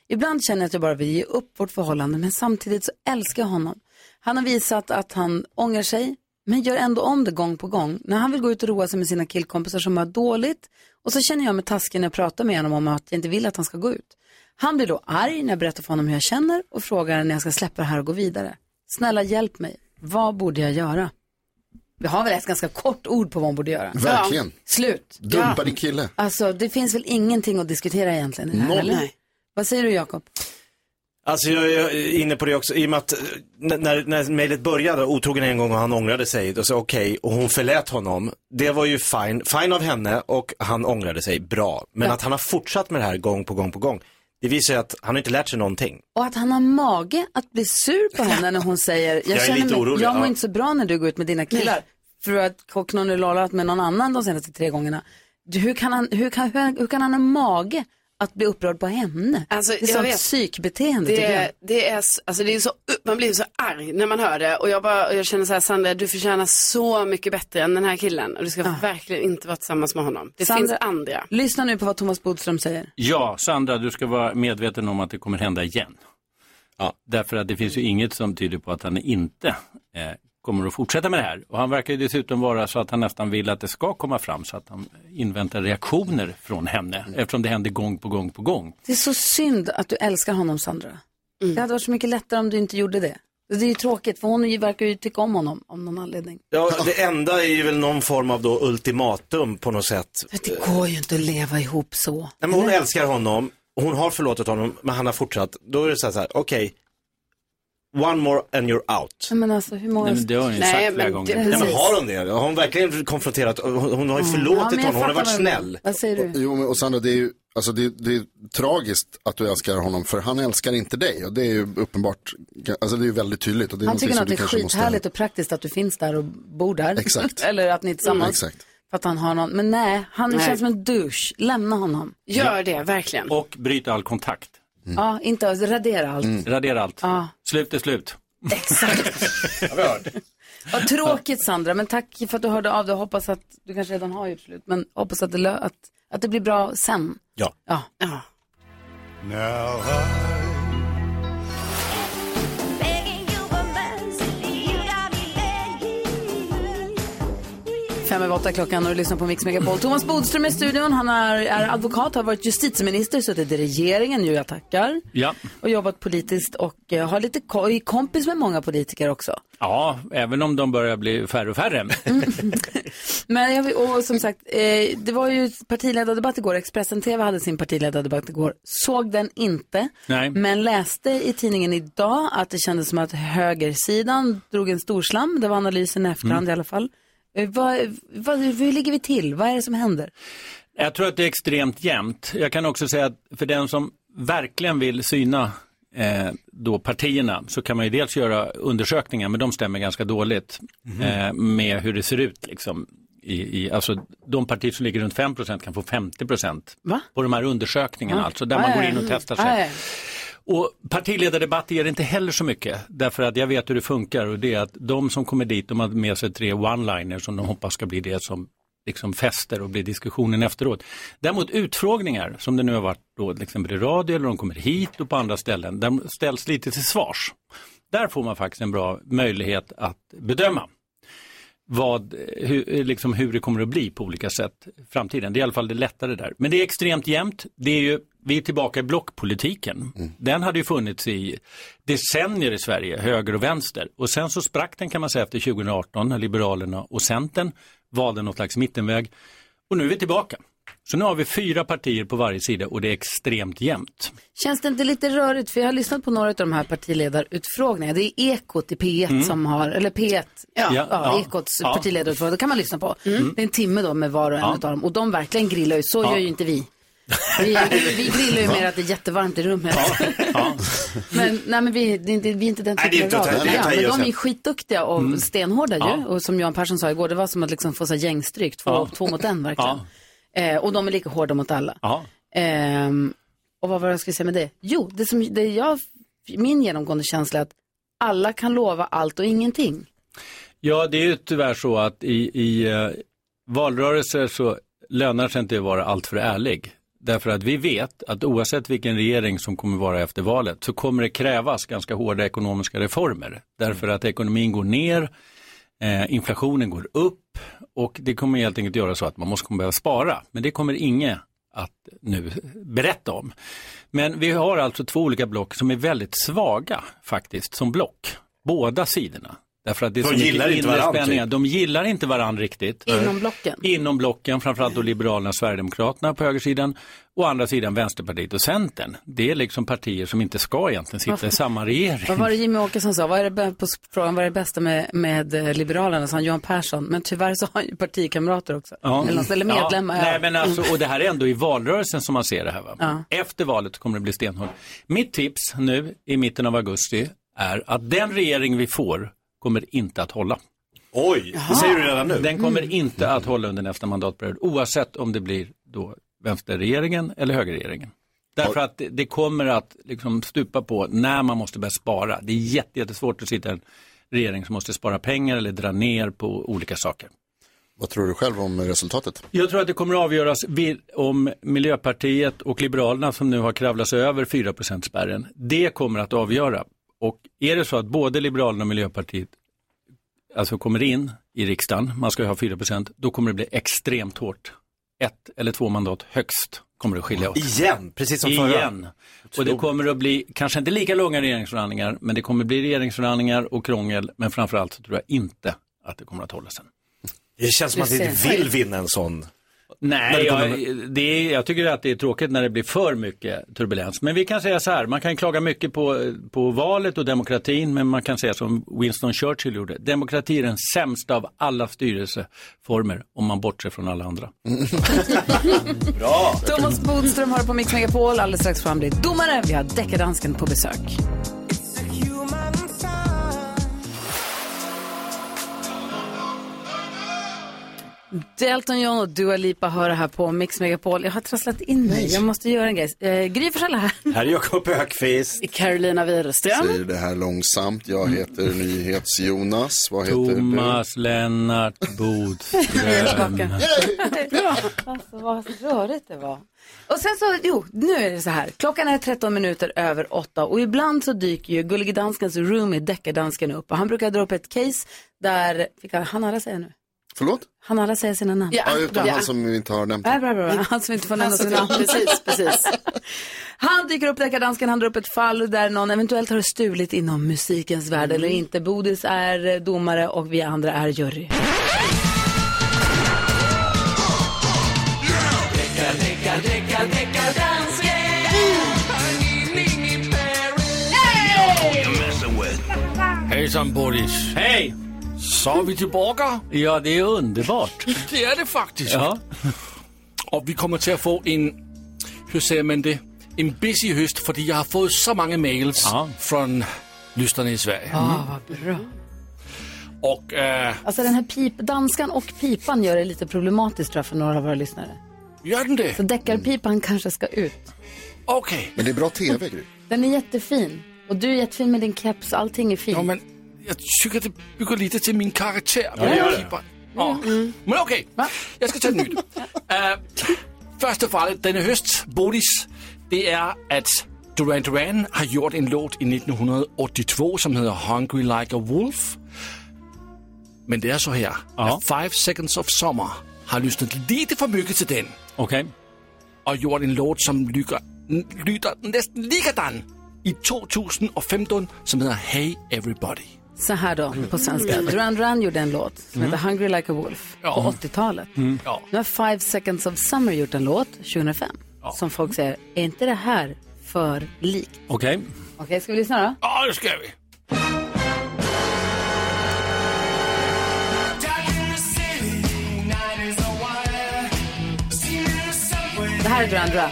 S2: Ibland känner jag att jag bara vill ge upp vårt förhållande men samtidigt så älskar jag honom. Han har visat att han ångrar sig men gör ändå om det gång på gång. När han vill gå ut och roa sig med sina killkompisar som mår dåligt och så känner jag mig taskig när jag pratar med honom om att jag inte vill att han ska gå ut. Han blir då arg när jag berättar för honom hur jag känner och frågar när jag ska släppa det här och gå vidare. Snälla hjälp mig, vad borde jag göra? Vi har väl ett ganska kort ord på vad man borde göra.
S8: Verkligen.
S2: Ja. Slut.
S8: Dumpa
S2: Ja.
S8: din kille.
S2: Alltså det finns väl ingenting att diskutera egentligen i det här,
S6: Noll.
S2: eller? Vad säger du Jakob?
S6: Alltså jag jag är inne på det också, i och med att eh, när- när, när mejlet började, otrogen en gång och han ångrade sig, då sa jag okej, och hon förlät honom. Det var ju fine, fine av henne och han ångrade sig, bra. Men
S2: Ja.
S6: att han har fortsatt med det här gång på gång på gång, det visar ju att han har inte lärt sig någonting.
S2: Och att han har mage att bli sur på henne när hon säger, jag,
S6: Jag är
S2: känner
S6: lite
S2: mig,
S6: orolig,
S2: jag mår
S6: ja.
S2: inte så bra när du går ut med dina killar. För att Kocknon har lollat med någon annan de senaste tre gångerna. Du, Hur kan han, hur kan, hur, hur kan han ha mage att bli upprörd på henne?
S4: Alltså,
S2: det är
S4: jag
S2: sånt
S4: vet.
S2: psykbeteende tycker jag.
S4: Det, det är, s- alltså det är så, man blir så arg när man hör det och jag, bara, och jag känner så här Sandra, du förtjänar så mycket bättre än den här killen och du ska verkligen inte vara tillsammans med honom. Det
S2: Sandra-
S4: finns andra.
S2: Lyssna nu på vad Thomas Bodström säger.
S18: Ja, Sandra, du ska vara medveten om att det kommer hända igen. Ja. Därför att det finns ju inget som tyder på att han inte eh, kommer att fortsätta med det här. Och han verkar ju dessutom vara så att han nästan vill att det ska komma fram så att han inväntar reaktioner från henne eftersom det händer gång på gång på gång.
S2: Det är så synd att du älskar honom, Sandra. Det hade varit så mycket lättare om du inte gjorde det. Det är ju tråkigt, för hon ju- verkar ju tycka om honom, om någon anledning.
S6: Ja, det enda är ju väl någon form av då ultimatum på något sätt. Eh,
S2: Det går ju inte att leva ihop så.
S6: Nej, men hon älskar honom, hon har förlåtit honom, men han har fortsatt. Då är det så här, så här okej, one more and you're out.
S2: Nej, Men alltså, hur många...
S6: Nej, men det har hon ju Nej, sagt men flera det- gånger. Nej, men har hon det? Har hon verkligen konfronterat? Hon, hon har ju förlåtit honom, hon har varit snäll.
S2: Vad säger du?
S8: Jo, men och Sandra, det är ju alltså det, det är tragiskt att du älskar honom för han älskar inte dig och det är ju uppenbart, alltså det är ju väldigt tydligt. Och det är
S2: Han
S8: någonting
S2: tycker nog
S8: som
S2: att
S8: du
S2: det är
S8: kanske måste-
S2: skithärligt och praktiskt att du finns där och bor där.
S8: Exakt.
S2: Eller att ni är tillsammans.
S8: Mm, exakt.
S2: För att han har någon. Men nej, han
S18: Nej.
S2: känns som en douche. Lämna honom.
S4: Gör det, verkligen.
S18: Och bryta all kontakt.
S2: Ja, inte alltså, radera allt.
S18: Radera allt.
S2: Ja.
S18: Slut är slut.
S2: Vad tråkigt Sandra, men tack för att du hörde av dig. Hoppas att du kanske redan har gjort slut, men hoppas att det, lö- att, att det blir bra sen.
S6: Ja.
S2: Ja. Fem över åtta klockan och du lyssnar på Mix Megapol. Thomas Bodström är i studion. Han är, är advokat, har varit justitieminister, suttit i regeringen, nu jag tackar.
S18: Ja.
S2: Och jobbat politiskt och eh, har lite ko- är kompis med många politiker också.
S18: ja, även om de börjar bli färre och färre.
S2: Men jag, vill- och som sagt, eh, det var ju partiledardebatt igår. Expressen TV hade sin partiledardebatt igår. Såg den inte,
S18: Nej.
S2: men läste i tidningen idag att det kändes som att högersidan drog en stor slam. Det var analysen i
S18: Mm.
S2: efterhand i alla fall. Eh, vad, vad, hur ligger vi till? Vad är det som händer?
S18: Jag tror att det är extremt jämnt. Jag kan också säga att för den som verkligen vill syna eh, då partierna så kan man ju dels göra undersökningar, men de stämmer ganska dåligt
S20: Mhm.
S18: eh, med hur det ser ut. Liksom, i, i, alltså, de partier som ligger runt 5 kan få 50 på de här undersökningarna,
S20: Ja.
S18: alltså där
S20: Ja,
S18: man
S20: ja,
S18: går
S20: ja.
S18: in och testar sig.
S20: Ja, ja.
S18: Och partiledardebatt är det inte heller så mycket, därför att jag vet hur det funkar och det är att de som kommer dit, de har med sig tre one-liners som de hoppas ska bli det som liksom fäster och blir diskussionen efteråt. Däremot utfrågningar, som det nu har varit då till exempel i radio eller de kommer hit och på andra ställen, där ställs lite till svars. Där får man faktiskt en bra möjlighet att bedöma vad, hur, liksom hur det kommer att bli på olika sätt i framtiden. Det är i alla fall det lättare där. Men det är extremt jämnt. Det är ju, vi är tillbaka i blockpolitiken. Den hade ju funnits i decennier i Sverige, höger och vänster. Och sen så sprack den kan man säga efter 2018 när Liberalerna och Centern valde något slags mittenväg. Och nu är vi tillbaka. Så nu har vi fyra partier på varje sida och det är extremt jämnt.
S2: Känns det inte lite rörigt? För jag har lyssnat på några av de här partiledarutfrågningarna. Det är Ekot i P1
S18: Mm.
S2: som har, eller P1, ja, ja,
S18: Ja, ja.
S2: Ekots
S18: Ja. Mm.
S2: partiledarutfrågning, det kan man lyssna på. Det är en timme då med var och en
S18: Ja.
S2: av dem. Och de verkligen grillar ju, så
S18: Ja.
S2: gör ju inte vi. Vi, vi grillar ju mer att det är jättevarmt i rummet. men nej, men vi, det är inte, vi är inte den
S7: Nej, det är
S2: typen av
S7: inte- det är
S2: radioprogram.
S7: inte-
S2: Men de är
S7: just-
S2: skitduktiga och
S7: Mm.
S2: stenhårda ju.
S7: Ja.
S2: Och som Johan Persson sa igår, det var som att liksom få så här gängstryck, två,
S7: Ja.
S2: två mot en verkligen. Eh, och de är lika hårda mot alla.
S18: Ja.
S2: Ehm, och vad var det jag skulle säga med det? Jo, det som det jag, min genomgående känsla är att alla kan lova allt och ingenting.
S18: Ja, det är ju tyvärr så att i, i eh, valrörelser så lönar det sig inte att vara alltför ärlig. Därför att vi vet att oavsett vilken regering som kommer vara efter valet så kommer det krävas ganska hårda ekonomiska reformer. Därför att ekonomin går ner, eh, inflationen går upp och det kommer helt enkelt göra så att man måste kommer behöva spara. Men det kommer ingen att nu berätta om. Men vi har alltså två olika block som är väldigt svaga faktiskt som block. Båda sidorna. Därför att det är
S6: De
S18: så mycket
S6: gillar inte
S18: inre
S6: varandra,
S18: spänningar.
S6: typ.
S18: De gillar inte varandra riktigt.
S2: Inom blocken?
S18: Inom blocken, framförallt då Liberalerna och Sverigedemokraterna på högersidan. Å andra sidan Vänsterpartiet och Centern. Det är liksom partier som inte ska egentligen sitta i samma regering.
S2: Vad var det Jimmy Åkesson sa? Vad är det, bä- på s- frågan vad är det bästa med, med eh, Liberalerna? sa han Johan Persson. Men tyvärr så har han ju partikamrater också.
S18: Ja.
S2: Eller, något- eller medlemmar.
S18: Ja.
S2: ja.
S18: Nej, men alltså, och det här är ändå i valrörelsen som man ser det här. Va?
S2: Ja.
S18: Efter valet kommer det bli stenhårt. Mitt tips nu i mitten av augusti är att den regering vi får kommer inte att hålla.
S6: Oj, det säger du redan nu.
S18: Den kommer
S6: Mm.
S18: inte att hålla under nästa mandatperiod oavsett om det blir då vänsterregeringen eller högerregeringen. Därför att det- det kommer att liksom stupa på när man måste börja spara. Det är jätte- jättesvårt att sitta i en regering som måste spara pengar eller dra ner på olika saker.
S20: Vad tror du själv om resultatet?
S18: Jag tror att det kommer att avgöras vil- om Miljöpartiet och Liberalerna som nu har kravlat sig över 4%-spärren. Det kommer att avgöra. Och är det så att både Liberalerna och Miljöpartiet alltså kommer in i riksdagen, man ska ju ha 4%, då kommer det bli extremt hårt. Ett eller två mandat högst kommer det skilja åt.
S6: Igen, precis som förra.
S18: Igen. Och det kommer att bli, kanske inte lika långa regeringsförhandlingar, men det kommer bli regeringsförhandlingar och krångel, men framförallt så tror jag inte att det kommer att hålla sen.
S6: Det känns som att vi inte vill vinna en sån. När
S18: Nej,
S6: det
S18: jag,
S6: kommer-
S18: det är, jag tycker att det är tråkigt när det blir för mycket turbulens. Men vi kan säga så här, man kan klaga mycket på, på valet och demokratin, men man kan säga som Winston Churchill gjorde, demokrati är den sämsta av alla styrelseformer om man bortser från alla andra.
S6: Mm,
S2: Thomas Bodström har på Mix Megapol. Alldeles strax fram blir domare. Vi har deckardansken på besök. Delton John och Dua Lipa hör det här på Mix Megapol. Jag har trasslat in mig. Jag måste göra en grej. Eh, Gry Forssell är här.
S6: Här är Jakob Högqvist.
S2: Carolina Widerström. Mm.
S20: Säger det här långsamt. Jag heter NyhetsJonas. Vad heter
S18: Thomas Lennart Bodström.
S2: Bra. Alltså vad rörigt det var. Och sen så, jo, nu är det så här. Klockan är 13 minuter över 8 och ibland så dyker ju Gullige Danskens roomie Deckardansken upp och han brukar dra upp ett case där, fick jag, han alla säga nu?
S20: Förlåt?
S2: Han alla säga sina namn?
S20: Ja, utom han som vi inte har nämnt.
S2: Nej, bra, bra, bra. Han som inte får nämna
S20: Alltså,
S4: Han
S2: sitt
S4: som-
S2: namn.
S4: precis,
S2: precis. Han dyker upp, deckardansken, han drar upp ett fall där någon eventuellt har stulit inom musikens
S20: Mm.
S2: värld eller inte. Bodis är eh, domare och vi andra är jury.
S10: Hejsan Boris.
S18: Hej!
S10: Så är vi tillbaka.
S18: Ja, det är underbart.
S10: Det är det faktiskt.
S18: Ja.
S10: Och vi kommer till att få en, hur säger man det, en busy höst för jag har fått så många mails från lyssnarna i Sverige. Mm.
S2: Bra.
S10: Och eh,
S2: Alltså den här pipdanskan och pipan gör det lite problematiskt tror jag för några av våra lyssnare.
S10: Gör den det?
S2: Så deckarpipan kanske ska ut.
S10: Okej.
S20: Men det är bra tv, Gry.
S2: Den är jättefin. Och du är jättefin med din keps, allting är fint. Ja,
S10: men... jag tycker det bygger lite till min karaktär.
S2: Ja, det gör det.
S10: Keeperen. Ja. Mm. Men okej, jag ska ta ett nytt. uh, första fallet denna höst, Bodis, det är att Duran Duran har gjort en låt i 1982 som heter Hungry Like a Wolf. Men det är så här, att Five Seconds of Summer har lyssnat lite för mycket till den.
S18: Okej.
S10: Och gjort en låt som lyder, lyder nästan likadan i 2015 som heter Hey Everybody.
S2: Så här då, på svenska.
S10: Mm.
S2: Duran Duran gjorde en låt som
S10: Mm.
S2: heter Hungry Like a Wolf på 80-talet.
S7: Mm.
S10: Ja.
S2: Nu har Five Seconds of Summer gjort en låt 2005 som folk säger, är inte det här för likt?
S18: Okej.
S2: Okej, ska vi lyssna då?
S10: Ja, det ska vi.
S2: Det
S9: här
S2: här
S9: är Duran Duran.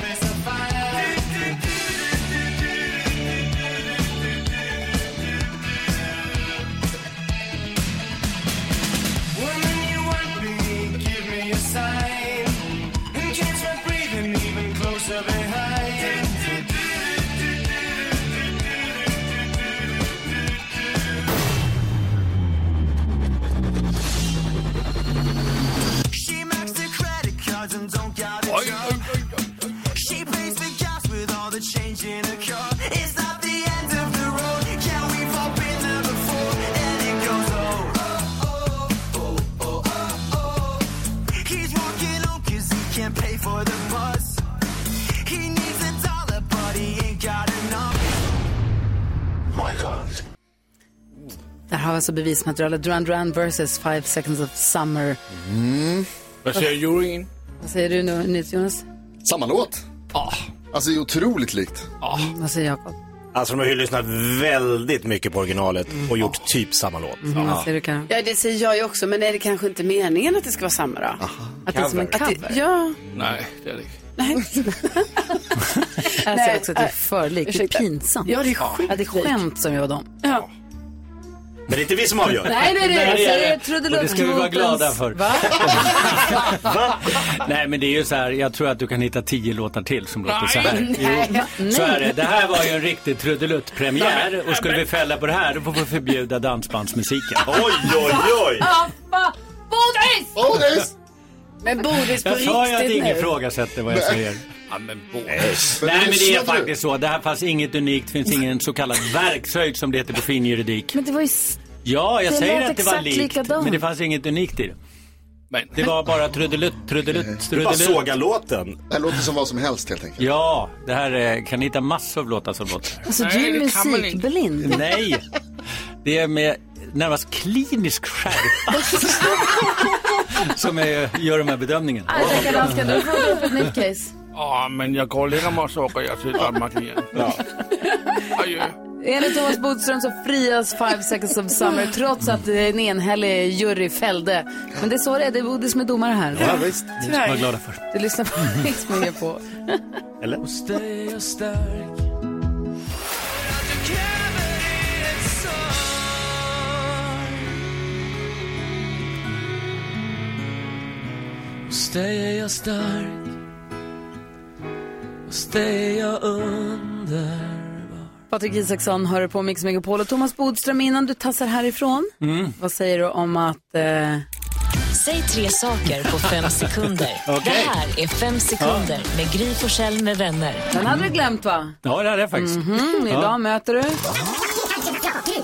S7: oh,
S2: Där har vi alltså bevismaterialet. Duran Duran versus Five Seconds of Summer.
S10: Mm. Vad säger juryn?
S2: Vad säger du nu, Nils Jonas?
S8: Samma låt.
S10: Ah.
S8: Alltså det är otroligt likt.
S2: Vad säger Jakob?
S6: Alltså de har ju lyssnat väldigt mycket på originalet
S8: Mm.
S6: och gjort typ samma låt. Ja.
S4: Ja, det säger jag ju också, men är det kanske inte meningen att det ska vara samma då? Att det är som en
S10: Cover.
S4: cover? ja.
S10: Nej, det är det inte.
S2: Jag säger också att det är för likt. Det är
S4: Ursäkta.
S2: pinsamt.
S4: Ja, det är
S2: Ja, det är skämt som gör dem.
S4: Ja.
S6: Men det är inte vi som avgör.
S2: Nej, nej, nej.
S18: Nej, det är
S2: Säger
S18: det. Och det ska vi vara glada för.
S2: Va?
S18: Nej men det är ju så här, jag tror att du kan hitta tio låtar till som låter så här.
S2: Nej.
S18: Jo, så är det. Det här var ju en riktig trudelutt-premiär och skulle vi fälla på det här då får vi förbjuda dansbandsmusiken.
S6: Oj, oj, oj!
S4: Bodis!
S8: Bodis!
S4: Men Bodis på
S18: Jag sa ju att
S4: riktigt
S18: ingen
S4: nu.
S18: ifrågasätter vad jag
S10: Nej.
S18: säger.
S10: Ja, men
S18: Nej men det är faktiskt så. Det här fanns inget unikt, finns ingen så kallad verkshöjd som det heter på fin juridik.
S9: Men det var ju... s-
S18: Ja, jag
S9: Det
S18: säger
S9: lät
S18: att det var
S9: exakt
S18: likt.
S9: likadant.
S18: Men det fanns inget unikt i det.
S10: Men,
S18: det var bara trudelutt, trudelutt, trudelutt.
S6: låten.
S8: Det här låter som vad som helst helt enkelt.
S18: Ja, det här är, kan ni hitta massor av låtar som låter så här.
S2: Alltså, du är musikblind.
S18: Nej, det är med närmast klinisk skärpa som är, gör de här bedömningarna.
S9: Rickard Alska, du får dra upp ett nytt case.
S10: Åh, men jag går och lägger mig och så åker jag till Danmark igen.
S9: Enligt Thomas Bodström så frias Five Seconds of Summer trots att en enhällig jury fällde. Men det är så det är, det är Bodis med domare här.
S18: Ja, visst. Det ska vi vara
S9: Tyvärr.
S18: glada för.
S9: Du lyssnar på Mix på.
S6: Eller?
S12: Hos dig är jag stark Hos dig är jag under
S2: Patrik Isaksson hör på Mix Megapol och Thomas Bodström innan du tassar härifrån.
S12: Mm.
S2: Vad säger du om att... Eh...
S1: Säg tre saker på fem sekunder. Det här är fem sekunder med Gry Forssell med vänner.
S2: Den hade du glömt va?
S18: Ja, det hade jag faktiskt.
S2: Mhm, idag
S18: Ja.
S2: möter du...
S7: Gry,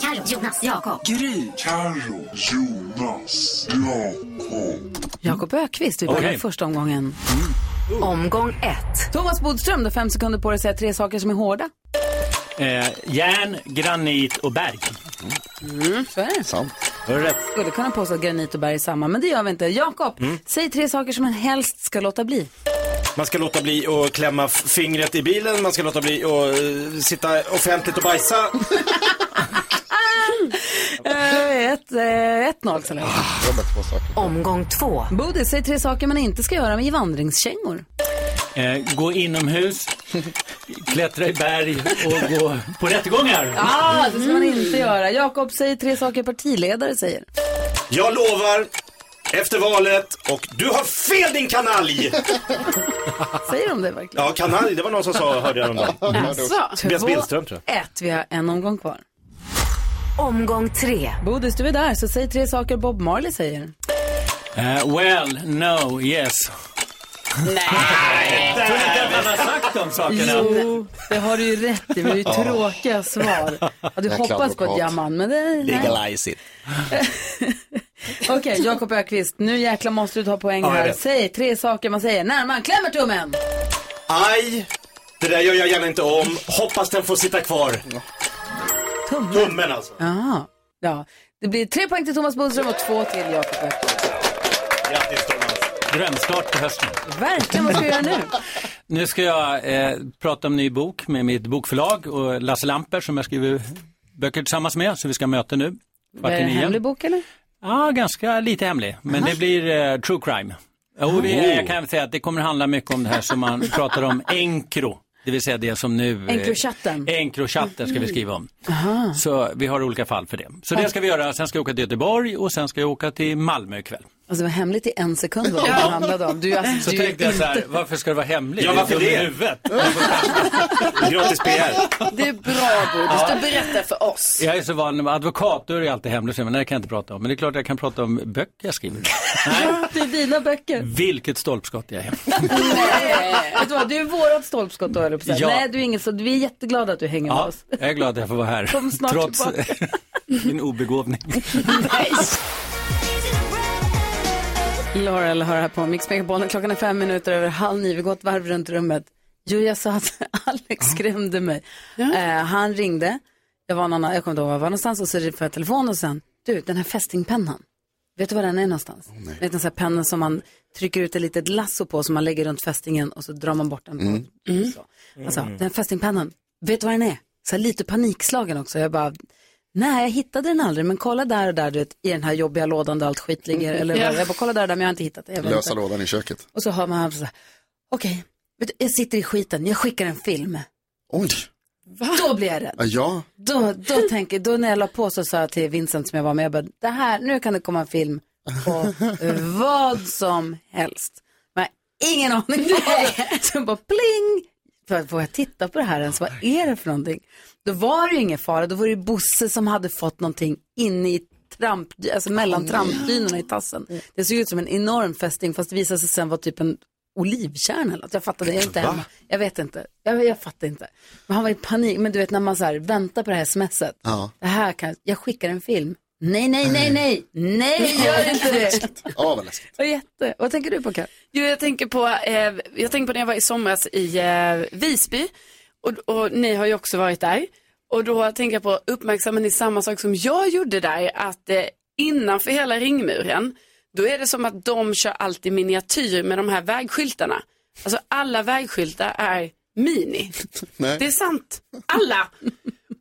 S7: Carro, Jonas, Jakob.
S2: Gry.
S7: Carro, Jonas, Jakob.
S2: Jakob Ökvist, vi börjar
S7: Okej.
S2: första omgången. Omgång ett. Thomas Bodström, du har fem sekunder på dig att säga tre saker som är hårda.
S18: Eh, järn, granit och berg.
S2: Mm, så är det.
S8: Sant.
S18: Var det rätt?
S2: Skulle kunna påstå att granit och berg är samma, men det gör vi inte. Jakob, säg tre saker som man helst ska låta bli.
S6: Man ska låta bli att klämma f- fingret i bilen, man ska låta bli att eh, sitta offentligt och bajsa.
S2: Eh, ett, eh, 1-0 så länge.
S1: Omgång två.
S2: Bodil, säg tre saker man inte ska göra med i vandringskängor.
S18: Eh, gå inomhus, klättra i berg och gå på rättegångar.
S2: Ah, det ska man inte göra. Jakob, säg tre saker partiledare säger.
S6: Jag lovar, efter valet, och du har fel din kanalj!
S2: Säger de det verkligen?
S6: Ja, kanalj, det var någon som sa, hörde jag häromdagen.
S2: Alltså,
S6: Tobias Billström tror jag.
S2: Ett, vi har en omgång kvar.
S1: Omgång tre.
S2: Bodis, du är där, så säg tre saker Bob Marley säger.
S18: Eh, well, no, yes.
S2: Nej!
S18: Tror du inte att man har sagt de sakerna?
S2: Jo, det har du ju rätt i, men det är ju
S18: Ja.
S2: tråkiga svar. Ja, du
S18: Jäkla
S2: hoppas på ett
S18: advokat.
S2: jamman, men det... nej.
S6: Legalize it.
S2: Okej, Jakob Ökvist, nu jäkla måste du ta poäng
S6: Ja, jag
S2: här.
S6: vet.
S2: Säg tre saker man säger när man klämmer tummen.
S6: Aj, det där gör jag gärna inte om. Hoppas den får sitta kvar.
S2: Tummen?
S6: Tummen alltså.
S2: Jaha. Ja. Det blir tre poäng till Thomas Bodström och två till Jakob Ökvist.
S6: Grattis Thomas.
S18: Drömstart på hösten.
S2: Verkligen, vad ska vi göra nu?
S18: Nu ska jag eh, prata om ny bok med mitt bokförlag och Lasse Lamper som jag skriver böcker tillsammans med. Så vi ska möta nu.
S2: Är det en hemlig bok eller?
S18: Ja, ganska lite hemlig. Men det blir eh, true crime. Jo, det, Oh. jag kan säga att det kommer handla mycket om det här som man pratar om, enkro. Det vill säga det som nu... eh,
S9: Enkrochatten.
S18: Enkrochatten
S2: Mm.
S18: ska vi skriva om.
S9: Aha.
S18: Så vi har olika fall för det. Så det ska vi göra. Sen ska jag åka till Göteborg och sen ska jag åka till Malmö ikväll.
S2: Alltså det var hemligt i en sekund vad det handlade om. Du, alltså,
S18: så
S2: du,
S18: tänkte jag så här, varför ska det vara hemligt?
S6: Ja, varför
S18: Jag är dum i
S6: det?
S18: huvudet.
S6: Gratis PR.
S2: Det är bra Bodis,
S18: Ja.
S2: du berättar för oss.
S18: Jag är så van, med advokat, då är det alltid hemligt. Men det kan jag inte prata om. Men det är klart jag kan prata om böcker jag skriver.
S9: Det är dina böcker.
S18: Vilket stolpskott jag är.
S9: Vet du vad, du är vårat stolpskott då, höll jag på att säga.
S18: Ja.
S9: Nej, du är inget så. Vi är jätteglada att du hänger med
S18: Ja,
S9: oss.
S18: jag är glad att jag får vara här.
S9: Kom snart
S18: Trots min obegåvning.
S2: Laurel hör här på Mix Megabolen. Klockan är fem minuter över halv nio. Vi går ett varv runt rummet. Jo, jag sa att Alex skrämde mig. Eh, han ringde. Jag, var någon, jag kommer inte ihåg var jag var någonstans och så får jag telefon och sen, du, den här fästingpennan. Vet du var den är någonstans? vet du, den här pennan som man trycker ut ett litet lasso på som man lägger runt fästingen och så drar man bort den. på-
S7: Mm.
S2: Så. Alltså, den här fästingpennan, vet du vad den är? Så här lite panikslagen också. Jag bara, nej jag hittade den aldrig, men kolla där och där du vet, i den här jobbiga lådan där allt skit ligger. Eller
S8: Ja.
S2: vad- Jag bara, kolla där och där, men jag har inte hittat det. Jag vet
S8: Lösa
S2: inte.
S8: lådan i köket.
S2: Och så hör man honom så här, okej, vet du, jag sitter i skiten, jag skickar en film.
S8: Oj,
S2: Då blir jag rädd.
S8: ja, ja.
S2: Då, då, tänker, då när jag la på så sa jag till Vincent som jag var med, jag bara, det här, nu kan det komma en film på vad som helst. Men jag har ingen aning. om. Så jag bara pling, för att våga titta på det här ens, vad är det för någonting? Då var det ju ingen fara, då var det ju Bosse som hade fått någonting inne i tramp, alltså mellan trampdynorna i tassen. Det såg ut som en enorm fästing fast det visade sig sen vara typ en olivkärna eller något. Jag fattade, jag är inte
S7: Va?
S2: hemma. Jag vet inte, jag, jag fattar inte. Men han var i panik, men du vet när man så här väntar på det här smset.
S8: Ja.
S2: Det här kan, jag skickar en film. Nej, nej, nej, nej, nej, gör inte det.
S8: ja vad läskigt.
S2: Vad jätte, vad tänker du på Karin?
S4: Jo, jag tänker på, eh, jag tänker på när jag var i somras i eh, Visby och, och ni har ju också varit där. Och då tänker jag på, uppmärksammar ni samma sak som jag gjorde där, att eh, innanför hela ringmuren, då är det som att de kör alltid miniatyr med de här vägskyltarna. Alltså alla vägskyltar är mini.
S7: Nej.
S4: Det är sant. Alla.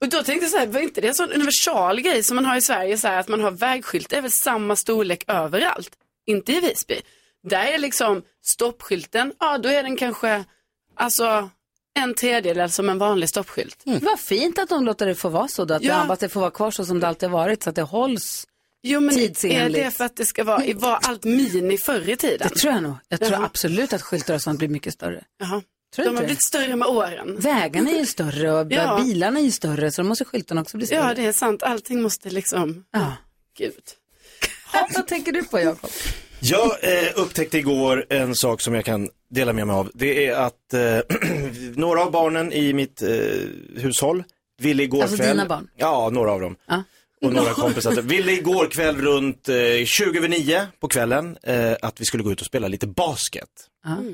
S4: Och då tänkte jag så här, var inte det en sån universal grej som man har i Sverige, så här, att man har vägskylt, det är väl samma storlek överallt. Inte i Visby. Där är liksom stoppskylten, ja då är den kanske, alltså en tredjedel som en vanlig stoppskylt.
S6: Mm.
S2: Vad fint att de låter det få vara så då, att,
S4: Ja.
S2: det, att det får vara kvar så som det alltid har varit så att det hålls
S4: Jo men är
S2: tidsenligt.
S4: det för att det ska vara, var allt mini förr i tiden?
S2: Det tror jag nog. Jag tror
S4: Jaha.
S2: absolut att skyltar och sånt blir mycket större.
S4: Jaha.
S2: Tror
S4: De
S2: du inte
S4: har
S2: det?
S4: blivit större med åren.
S2: Vägarna är ju större och
S4: Ja.
S2: bilarna är ju större så då måste skyltarna också bli större.
S4: Ja, det är sant. Allting måste liksom...
S2: Ja.
S4: Gud.
S2: Vad tänker du på Jakob?
S6: Jag eh, upptäckte igår en sak som jag kan dela med mig av. Det är att eh, några av barnen i mitt eh, hushåll ville igår
S7: Alltså
S6: kväll.
S7: dina barn?
S6: Ja, några av dem. Och några kompisar. Ville igår kväll runt eh, 20 över 9 på kvällen eh, att vi skulle gå ut och spela lite basket.
S4: Mm.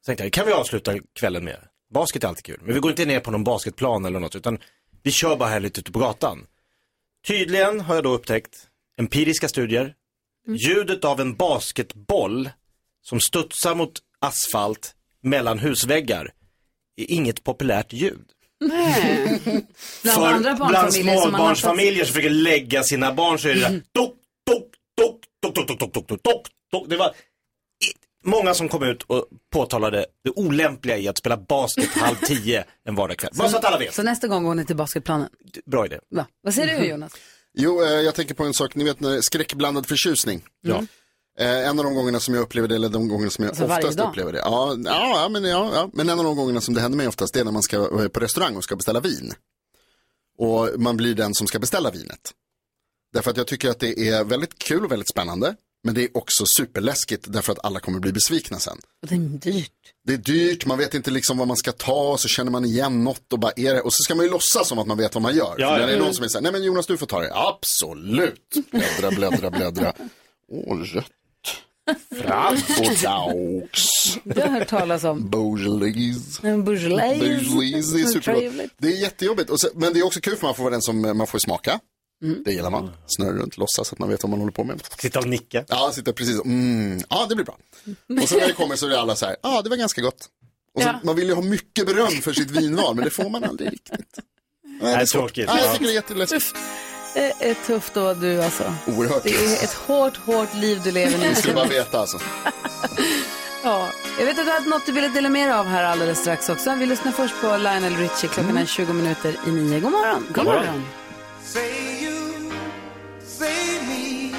S6: Så tänkte jag, kan vi avsluta kvällen med? Basket är alltid kul, men vi går inte ner på någon basketplan eller något, utan vi kör bara här lite ute på gatan. Tydligen har jag då upptäckt, empiriska studier, ljudet av en basketboll som studsar mot asfalt mellan husväggar är inget populärt ljud.
S7: Bland andra
S6: bland
S7: barnfamiljer som man har Mm. fått-
S6: småbarnsfamiljer som försöker lägga sina barn så är det där, dock, dock, dock, dock, dock, dock, dock, dock, dock. Det var i- många som kom ut och påtalade det olämpliga i att spela basket halv tio en vardagskväll. Bara så att alla vet.
S2: Så nästa gång går ni till basketplanen.
S6: Bra idé.
S2: Va? Vad säger du Jonas?
S8: Jo, eh, jag tänker på en sak, ni vet när skräckblandad förtjusning.
S6: Ja.
S8: Eh, en av de gångerna som jag upplever det, eller de gångerna som jag
S2: Mm. Alltså varje
S8: oftast
S2: dag?
S8: upplever det. Ja, ja, ja, men, ja, ja, men en av de gångerna som det händer mig oftast, det är när man ska eh, på restaurang och ska beställa vin. Och man blir den som ska beställa vinet. Därför att jag tycker att det är väldigt kul och väldigt spännande. Men det är också superläskigt därför att alla kommer bli besvikna sen.
S2: Och det är dyrt.
S8: Det är dyrt, man vet inte liksom vad man ska ta, så känner man igen något och bara är det. Och så ska man ju låtsas som att man vet vad man gör.
S6: Ja,
S8: För
S6: ja.
S8: det är någon som är så här, nej men Jonas du får ta det. Absolut. Bläddra, bläddra, bläddra. Åh, rött. Frappodaux.
S2: Det har jag hört talas om.
S8: Beaujolais.
S2: En bourgelais.
S8: Beaujolais, det är
S2: Så
S8: supergott.
S2: trevligt.
S8: Det är jättejobbigt. Och så, men det är också kul för man får vara den som eh, man får smaka.
S2: Mm.
S8: Det gillar man. Snurra runt, låtsas att man vet vad man håller på med.
S6: Sitta och nicka.
S8: Ja, sitta precis. Mm. Ja, det blir bra. Och sen när det kommer så är alla så här, ja, ah, det var ganska gott. Och så,
S7: Ja.
S8: Man vill ju ha mycket beröm för sitt vinval, men det får man aldrig riktigt. Nej, det är tråkigt. Nej, jag tycker det är jätteläskigt.
S2: Det är tufft då du alltså.
S8: Oerhört.
S2: Det är ett hårt, hårt liv du lever nu.
S8: Ni skulle bara veta alltså.
S2: Jag vet att du hade något du ville dela med dig av här alldeles strax också. Vi lyssnar först på Lionel Richie. Klockan
S8: Mm.
S2: är 20 minuter i nio. God morgon.
S7: God morgon.
S12: Say you, say me.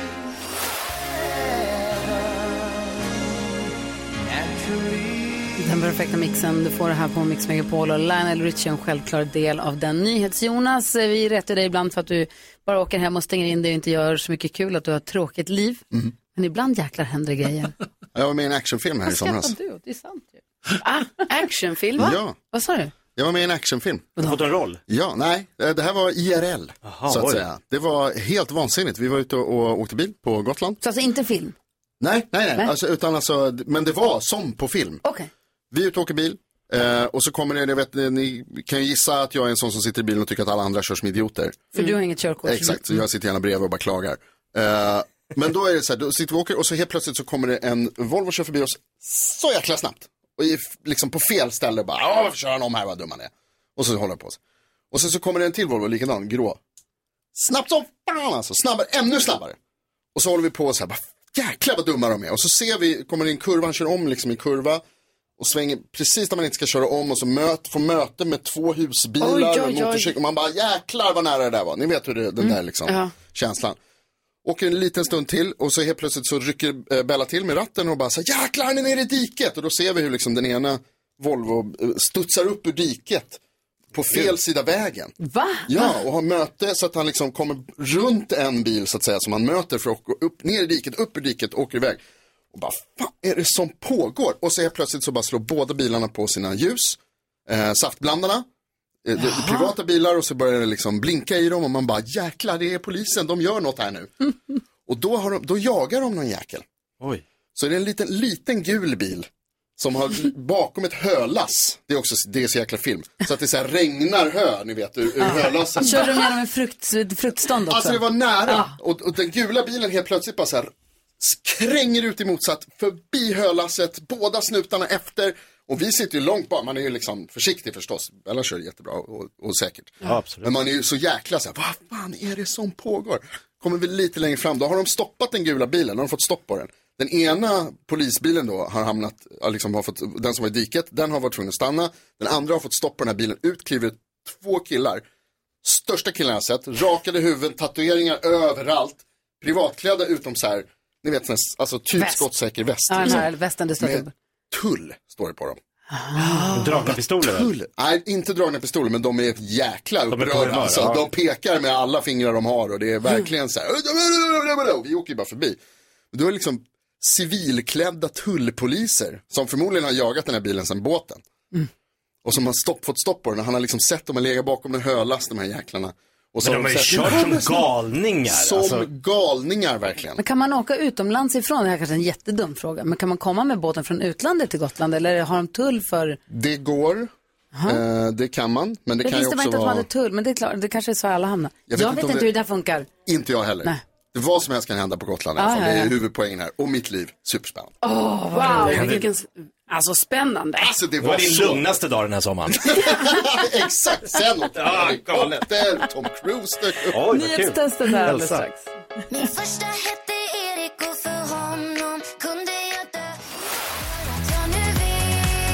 S2: Den perfekta mixen du får det här på Mix Megapol och Lionel Richie är en självklar del av den. NyhetsJonas, eh, vi rättar dig ibland för att du bara åker hem och stänger in dig och inte gör så mycket kul, att du har ett tråkigt liv.
S8: Mm.
S2: Men ibland jäklar händer det grejer.
S8: Jag var med i en actionfilm här i somras.
S2: du åt? Det är sant ju. Ah, actionfilm? Va?
S8: Ja.
S2: Vad sa du?
S8: Jag var med i en actionfilm.
S6: Du har fått en roll?
S8: Ja, nej, eh, det här var IRL. så att
S6: oj.
S8: säga. Det var helt vansinnigt. Vi var ute och åkte bil på Gotland.
S2: Så alltså inte film?
S8: Nej, nej, nej.
S2: Nej.
S8: Alltså, utan alltså, men det var som på film.
S2: Okej.
S8: Vi är ute och åker bil. Eh, och så kommer det, jag vet, eh, ni kan ju gissa att jag är en sån som sitter i bilen och tycker att alla andra kör som idioter.
S2: För du har inget körkort.
S8: Exakt, så jag sitter gärna bredvid och bara klagar. Eh, men då är det så här, då sitter vi och åker och så helt plötsligt så kommer det en Volvo och kör förbi oss så jäkla snabbt. Och i, liksom på fel ställe bara, ja varför kör han om här vad dum han är. Och så håller jag på. Så. Och sen så kommer det en till Volvo, likadan, grå. Snabbt som fan alltså, snabbare, ännu snabbare. Och så håller vi på så här, bara, jäklar vad dumma de är. Och så ser vi, kommer det en kurva, han kör om liksom i kurva. Och svänger precis när man inte ska köra om och så möt, får möte med två husbilar
S7: Oj, oj,
S8: och
S7: oj.
S8: motorcykel. Och man bara jäklar vad nära det där var. Ni vet hur det, den där liksom,
S7: ja.
S8: känslan. Åker en liten stund till och så helt plötsligt så rycker eh, Bella till med ratten och bara så här, jäklar han är nere i diket. Och då ser vi hur liksom den ena Volvo eh, studsar upp ur diket på fel sida vägen.
S2: Va?
S8: Ja, och har möte så att han liksom kommer runt en bil så att säga som han möter för att gå upp, ner i diket, upp ur diket, åker iväg. Och bara, fan är det som pågår? Och så helt plötsligt så bara slår båda bilarna på sina ljus, eh, saftblandarna, eh, det- det privata bilar och så börjar det liksom blinka i dem och man bara, jäklar det är polisen, de gör något här nu. och då, har de, då jagar de någon jäkel.
S6: Oj.
S8: Så det är en liten, liten gul bil som har bakom ett hölass, det är också det är så jäkla film, så att det så här regnar hö, ni vet,
S2: Ah.
S8: ur, ur hölassen.
S2: Kör du genom en frukt, fruktstånd också? Ah.
S8: Alltså det var nära. Och, och den gula bilen helt plötsligt bara så här skränger ut i motsatt, förbi hölasset, båda snutarna efter. Och vi sitter ju långt bak, man är ju liksom försiktig förstås. Bella kör jättebra och, och säkert.
S6: Ja, absolut.
S8: Men man är ju så jäkla så här, vad fan är det som pågår? Kommer vi lite längre fram, då har de stoppat den gula bilen, då har de fått stopp på den. Den ena polisbilen då har hamnat, ja, liksom har fått, den som var i diket, den har varit tvungen att stanna. Den andra har fått stopp på den här bilen, ut kliver två killar. Största killen jag har sett, rakade huvuden, tatueringar överallt. Privatklädda utom så här, ni vet, sån här- alltså typ
S2: Väst.
S8: skottsäker väst.
S2: Ja, den
S8: liksom.
S2: här västen du stötte upp.
S8: Med tull, står det på dem.
S6: Ah. Dragna pistoler väl?
S8: Tull. Nej, inte dragna pistoler, men de är jäkla
S6: är
S8: upprörda.
S6: upprörda,
S8: alltså,
S6: ja.
S8: De pekar med alla fingrar de har och det är verkligen så här. "Och Vi åker ju bara förbi. Du har liksom civilklädda tullpoliser som förmodligen har jagat den här bilen sedan båten.
S2: Mm.
S8: Och som har stopp, fått stopp på den. Han har liksom sett dem ligga bakom en hölast, de här jäklarna. Och så
S6: Men de har ju
S8: sett-
S6: kört som galningar,
S8: Som
S6: alltså.
S8: galningar verkligen.
S2: Men kan man åka utomlands ifrån? Det här kanske är en jättedum fråga. Men kan man komma med båten från utlandet till Gotland? Eller har de tull för...
S8: Det går, eh, det kan man, men det,
S2: Det,
S8: kan ju
S2: visste man
S8: också
S2: inte att
S8: vara...
S2: man hade tull, men det är klart, det kanske är så alla hamnar. Jag vet, inte,
S8: om det-
S2: hur det där funkar.
S8: Inte jag heller. Det Vad som helst kan hända på Gotland i alla
S4: Ah,
S8: fall.
S4: ja,
S8: Det är
S4: ja.
S8: huvudpoängen här. Och mitt liv, superspännande.
S4: Åh, wow, vilken... Alltså spännande.
S8: Alltså, det
S6: Det var din lugnaste dag den här sommaren.
S8: Exakt, sen åkte
S6: Ja,
S8: jag helikopter, Tom Cruise dök upp.
S6: Oj,
S2: Nyhetstestet här alldeles strax.
S7: Min första hette Erik och för honom kunde jag dö För att jag nu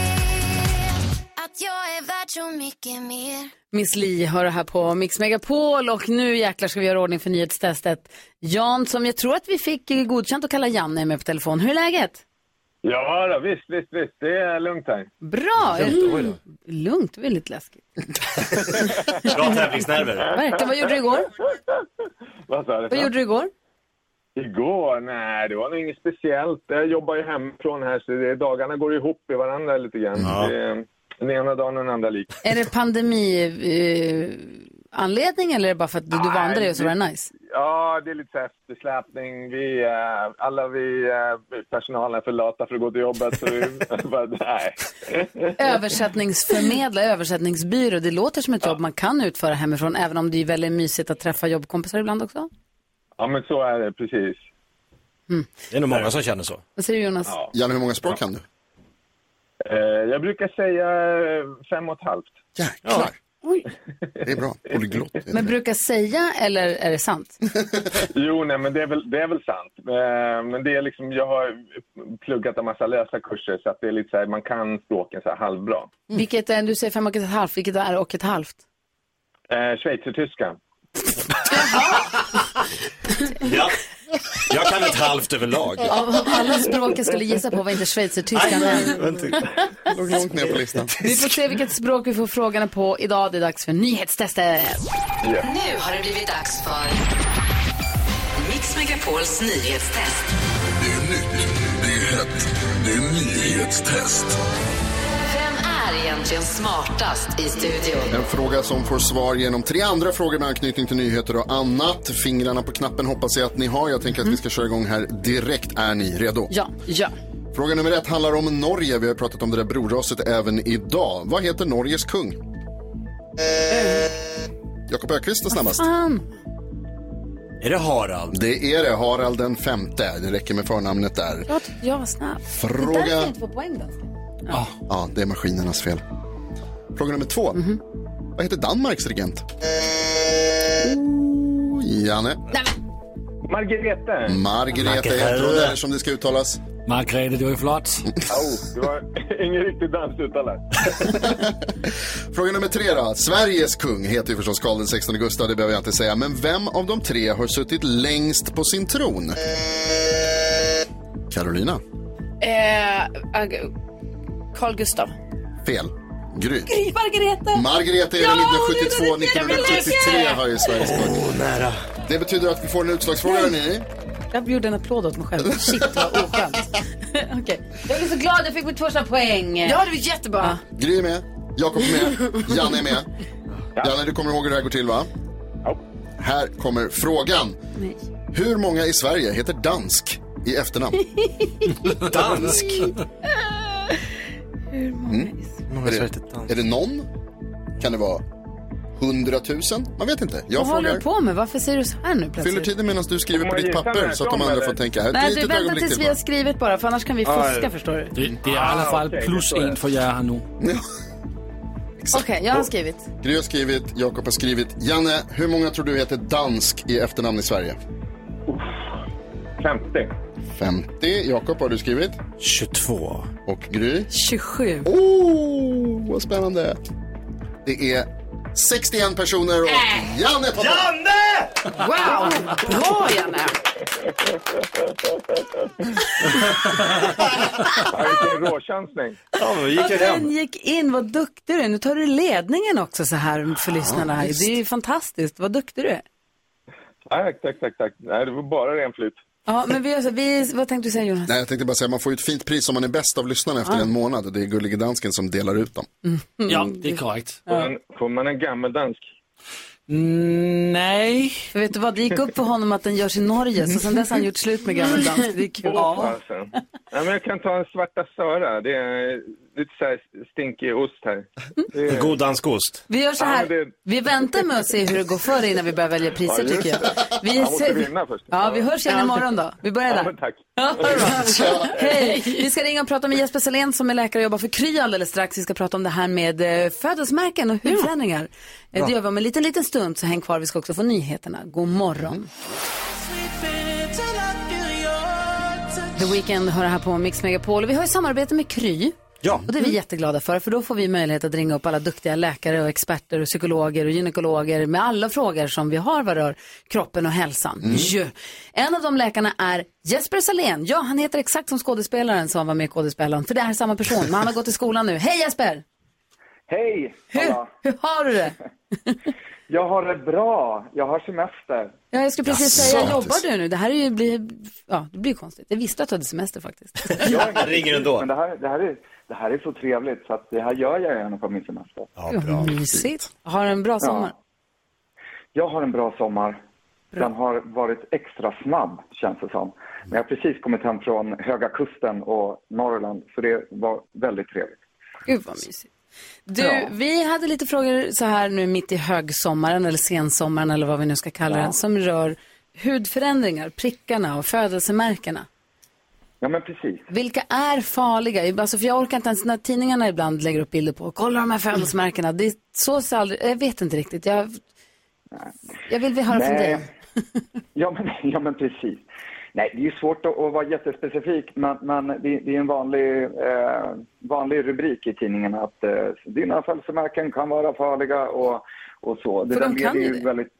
S7: vet att jag är värd så mycket mer
S2: Miss Li hör det här på Mix Megapol och nu jäklar ska vi göra ordning för nyhetstestet. Jan, som jag tror att vi fick eh, godkänt att kalla Janne, är med på telefon. Hur är läget?
S21: Ja, då, visst, visst, visst. Det är lugnt här.
S2: Bra!
S21: Lugnt, oj då.
S2: Lugnt, det är lite läskigt.
S6: Bra tävlingsnerver.
S2: Verkligen, vad gjorde du igår?
S21: Vad sa du?
S2: Vad gjorde du igår?
S21: Igår? Nej, det var nog inget speciellt. Jag jobbar ju hemifrån här, så det, dagarna går ihop i varandra lite grann.
S7: Ja.
S21: Det, den ena dagen och den andra lik.
S2: Är det pandemi eh, anledning eller är det bara för att du, du vandrade dig och så var det nice?
S21: Ja, det är lite så här eftersläpning. Vi, eh, alla vi eh, personalen är för lata för att gå till jobbet. Så vi, bara, nej.
S2: Översättningsförmedlare, översättningsbyrå, det låter som ett jobb man kan utföra hemifrån, även om det är väldigt mysigt att träffa jobbkompisar ibland också.
S21: Ja, men så är det precis.
S2: Mm.
S6: Det är nog många som känner så.
S2: Vad säger du Jonas?
S8: Janne, hur många språk kan du?
S21: Eh, jag brukar säga eh, fem och ett halvt.
S8: Jäklar. Det är bra. Polyglott.
S2: Men brukar säga eller är det sant?
S21: Jo, nej, men det är väl, det är väl sant. Eh, Men det är liksom, jag har pluggat en massa lösa kurser så att det är lite så här, man kan språken så här halvbra.
S2: Vilket är, du säger fem och ett halvt, vilket är och ett halvt?
S21: Eh, Schweizertyska.
S6: Ja. Jag kan ett halvt överlag.
S22: Av alla språk jag skulle gissa på var inte schweizertyskan än.
S8: Låg långt ner på listan.
S2: Vi får se vilket språk vi får frågorna på idag. Det är dags för nyhetstestet.
S7: Nu har det blivit dags för Mix Megapols nyhetstest. Det är nytt, det är hett, det är nyhetstest.
S23: Vem är egentligen smartast i studion?
S8: En fråga som får svar genom tre andra frågor med anknytning till nyheter och annat. Fingrarna på knappen hoppas jag att ni har. Jag tänker att vi ska köra igång här direkt. Är ni redo?
S2: Ja. ja.
S8: Fråga nummer ett handlar om Norge. Vi har pratat om det där broraset även idag. Vad heter Norges kung? Jakob Ökvist är snabbast. Är det Harald? Det är det. Harald den femte. Det räcker med förnamnet där.
S2: Jag tyckte jag var snabb.
S8: Fråga-
S2: Det är därför jag inte får poäng då.
S8: Ja, det är maskinernas fel. Fråga nummer två. Vad heter Danmarks regent? Oh, Janne.
S21: Margarete.
S8: Margareta heter hon, eller som det ska uttalas.
S10: Margrethe, du är flott.
S21: Oh, det var ingen riktig dans utan det.
S8: Fråga nummer tre då. Sveriges kung heter ju förstås Karl den 16 Gustav, det behöver jag inte säga. Men vem av de tre har suttit längst på sin tron? Carolina.
S4: Eh, ag- Carl Gustav.
S8: Fel. Gry.
S4: Gry Margareta!
S8: Margareta är väl 1972, 1973
S2: mycket!
S8: har ju Sveriges kung. Det betyder att vi får en utslagsfråga, hörni.
S2: Jag gjorde en applåd åt mig själv. Shit, vad oskönt. Okej. Jag är så glad jag fick mitt första poäng.
S4: Ja, det var jättebra.
S8: Gry är med, Jakob är med, Janne är med. Janne, du kommer ihåg hur det här går till, va? Ja. Här kommer frågan.
S2: Nej.
S8: Hur många i Sverige heter dansk i efternamn? dansk?
S2: Hur många?
S8: Mm. Är, det, är det någon? Kan det vara hundratusen? Man vet inte. Jag
S2: Vad håller
S8: frågar.
S2: du på med? Varför säger du så här nu plötsligt?
S8: Fyller tiden medan du skriver på ditt papper så att de andra får tänka. Ett
S2: Nej, du
S8: litet
S2: vänta
S8: ögonblick
S2: tills
S8: till
S2: vi
S8: bara.
S2: har skrivit bara, för annars kan vi fuska, förstår du?
S10: Det, det är i alla fall plus en för jer här nu.
S2: Okej, jag har skrivit.
S8: Gry har skrivit, Jakob har skrivit. Janne, hur många tror du heter dansk i efternamn i Sverige?
S21: 50.
S8: 50. Jakob, har du skrivit? 22. Och Gry?
S2: 27.
S8: Oh, vad spännande. Det är 61 personer och Janne tar Janne!
S4: Äh! Wow! Bra, Janne!
S21: Ja, Vilken råchansning.
S2: Ja, den gick in, vad duktig du är. Nu tar du ledningen också så här för lyssnarna. här.
S21: visst.
S2: det är ju fantastiskt, vad duktig du är.
S21: Ja, Tack, tack, tack. Nej, det var bara ren flyt.
S2: Ja, men vi, gör så vi, vad tänkte du säga Jonas?
S8: Nej, jag tänkte bara säga, man får ju ett fint pris om man är bäst av lyssnarna efter
S2: Ja.
S8: en månad. Det är Gullige Dansken som delar ut dem.
S2: Mm.
S10: Mm. Ja, det är korrekt.
S21: Får man en gammeldansk? Mm,
S10: Nej.
S2: För vet du vad, det gick upp för honom att den görs i Norge, så sen dess har han gjort slut med gammal dans. Det är kul.
S21: Ja. Alltså. Nej, men jag kan ta en svarta Sara. Det är eh, lite så här stinkig ost
S10: Mm.
S21: här. Det är...
S6: God danskost.
S2: Vi gör så
S21: Ja, men
S2: här, vi väntar med att se hur det går för dig innan vi börjar välja priser
S21: Ja, just
S2: tycker jag.
S21: det.
S2: Vi
S21: Man måste
S2: ser-
S21: vinna först.
S2: Ja, vi hörs igen
S21: Ja.
S2: imorgon då. Vi börjar
S21: Ja,
S2: där.
S21: men tack.
S2: Ja, ha det bra. Hej. Vi ska ringa och prata med Jesper Salén som är läkare och jobbar för Kry alldeles strax. Vi ska prata om det här med eh, födelsemärken och hudförändringar. Eh,
S7: Bra.
S2: Det gör vi om en liten, liten stund så häng kvar. Vi ska också få nyheterna. God morgon. The Weeknd hör här på Mix Megapol. Vi har ju samarbete med Kry.
S6: Ja.
S2: Och det är vi jätteglada för, för då får vi möjlighet att ringa upp alla duktiga läkare och experter och psykologer och gynekologer med alla frågor som vi har vad rör kroppen och hälsan.
S7: Mm.
S2: Ju. En av de läkarna är Jesper Salén. Ja, han heter exakt som skådespelaren som var med i skådespelaren, för det är samma person, men han har gått i skolan nu. Hej Jesper!
S24: Hej! alla.
S2: Hur har du det?
S24: Jag har det bra. Jag har semester.
S2: Ja, jag skulle precis
S24: Jaså.
S2: säga, jobbar du nu? Det här är ju, blir, ja, det blir konstigt. Jag visste att du hade semester faktiskt.
S24: Jag ringer ändå. Men det här, det, här är, det här är så trevligt, så att det här gör jag gärna på min semester.
S2: Ja, Mysigt. Har en bra sommar.
S24: Jag har en bra sommar. Den har varit extra snabb, känns det som. Men jag har precis kommit hem från Höga Kusten och Norrland, så det var väldigt trevligt.
S2: Gud vad mysigt. Du,
S24: Ja.
S2: vi hade lite frågor så här nu mitt i högsommaren eller sensommaren eller vad vi nu ska kalla
S24: Ja.
S2: den som rör hudförändringar, prickarna och födelsemärkena.
S24: Ja, men precis.
S2: Vilka är farliga? Alltså, för jag orkar inte ens när tidningarna ibland lägger upp bilder på, kolla de här födelsemärkena. Det är så ser aldrig, jag vet inte riktigt. Jag, jag vill vi höra från
S24: Nej.
S2: dig.
S24: Ja men, ja, men precis. Nej, det är ju svårt att, att vara jättespecifik, men, men det, det är en vanlig, eh, vanlig rubrik i tidningen att eh, dina födelsemärken kan vara farliga och, och så.
S7: För de
S24: där
S7: kan
S24: leder
S7: ju det.
S24: Väldigt...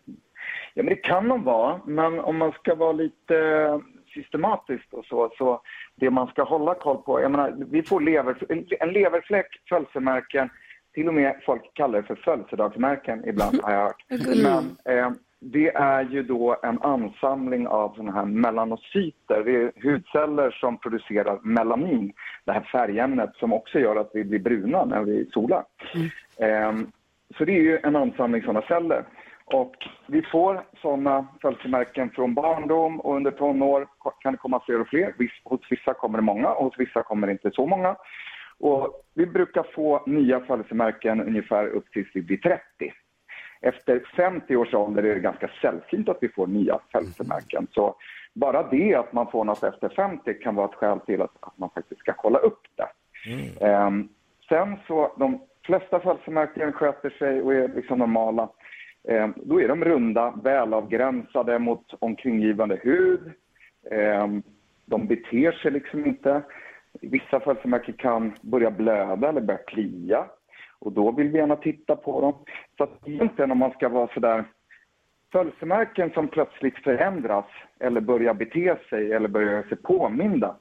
S24: Ja, men det kan de vara, men om man ska vara lite eh, systematisk och så, så det man ska hålla koll på, jag menar, vi får lever, en- en leverfläck, födelsemärken, till och med folk kallar det för födelsedagsmärken ibland har jag hört. Men eh, det är ju då en ansamling av sådana här melanocyter, det är hudceller som producerar melanin, det här färgämnet som också gör att vi blir bruna när vi solar.
S22: Mm-hmm.
S24: Ehm, så det är ju en ansamling sådana celler. Och vi får sådana födelsemärken från barndom och under tonår kan det komma fler och fler. Viss- Hos vissa kommer det många och hos vissa kommer det inte så många. Och vi brukar få nya födelsemärken ungefär upp tills vi blir 30. Efter 50 års ålder är det ganska sällsynt att vi får nya födelsemärken. Så bara det att man får något efter 50 kan vara ett skäl till att, att man faktiskt ska kolla upp det. Ehm, sen så, de flesta födelsemärken sköter sig och är liksom normala. Ehm, då är de runda, välavgränsade mot omkringgivande hud. Ehm, de beter sig liksom inte. Vissa födelsemärken kan börja blöda eller börja klia. Och då vill vi gärna titta på dem. Så att egentligen om man ska vara sådär födelsemärken som plötsligt förändras eller börjar bete sig eller börjar göra sig påminda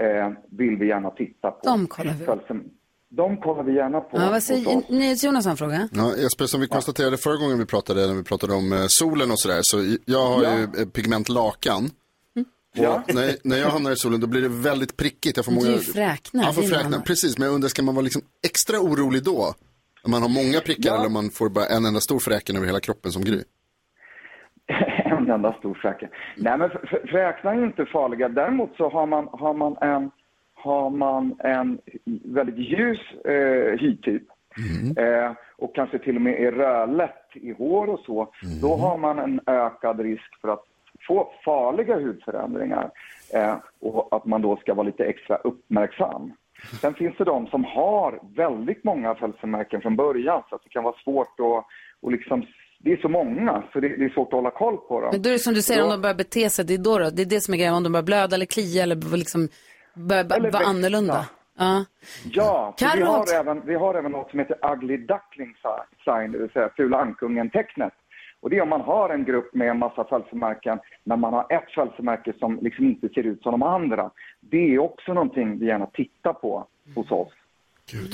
S24: eh, vill vi gärna titta på.
S2: De kollar vi.
S24: Födelsem- De kollar vi gärna på.
S2: Ja, vad
S24: hos
S2: säger
S24: oss.
S2: NyhetsJonas har en fråga?
S20: Ja, Jesper, som vi konstaterade förra gången vi pratade, när vi pratade om eh, solen och sådär, så jag har ju eh, pigmentlakan. Och
S7: Ja.
S20: när, när jag hamnar i solen då blir det väldigt prickigt. Jag får
S2: Du
S20: många...
S2: är ju fräknar,
S20: Jag får
S2: det är något
S20: fräknar,
S2: annat.
S20: precis. Men jag undrar, ska man vara liksom extra orolig då? Om man har många prickar eller om man får bara en enda stor fräken över hela kroppen som gry?
S24: en enda stor fräken. Nej, men fr- fr- fräknar är inte farliga. Däremot så har man, har man, en, har man en väldigt ljus eh, hytyp eh, och kanske till och med är rödlätt i hår och så, då har man en ökad risk för att få farliga hudförändringar eh, och att man då ska vara lite extra uppmärksam. Sen finns det de som har väldigt många födelsemärken från början så att det kan vara svårt att och liksom, det är så många så det, det är svårt att hålla koll på dem.
S2: Men då är det som du säger,
S24: Då-
S2: om de börjar bete sig, det är, då, då det är det som är grejen, om de börjar blöda eller klia eller liksom börjar ba- vara annorlunda. Ja.
S24: Ja, för vi
S2: Karot.
S24: har, även, vi har även något som heter ugly duckling sign, det vill säga fula ankungen-tecknet. Och det är om man har en grupp med en massa födelsemärken, men man har ett födelsemärke som liksom inte ser ut som de andra. Det är också någonting vi gärna tittar på hos oss.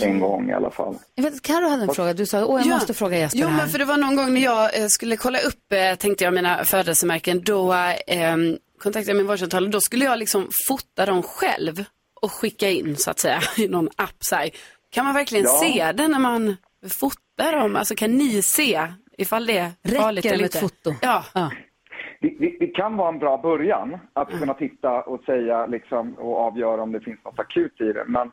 S24: En gång i alla fall.
S9: Jag vet, Karo hade en
S24: fråga.
S9: Du sa, åh jag
S4: Ja.
S9: måste fråga Jesper
S4: Jo,
S9: det här.
S4: men för det var någon gång när jag eh, skulle kolla upp, eh, tänkte jag, mina födelsemärken. Då eh, kontaktade jag min vårdcentral och då skulle jag liksom fota dem själv och skicka in, så att säga, i någon app. Så här. Kan man verkligen
S2: Ja.
S4: se det när man fotar dem? Alltså, kan ni se ifall det är
S2: Räcker
S4: farligt
S2: det
S4: eller
S2: med ett
S4: inte?
S2: foto?
S4: Ja.
S24: Det, det, det kan vara en bra början att kunna titta och säga liksom, och avgöra om det finns något akut i det. Men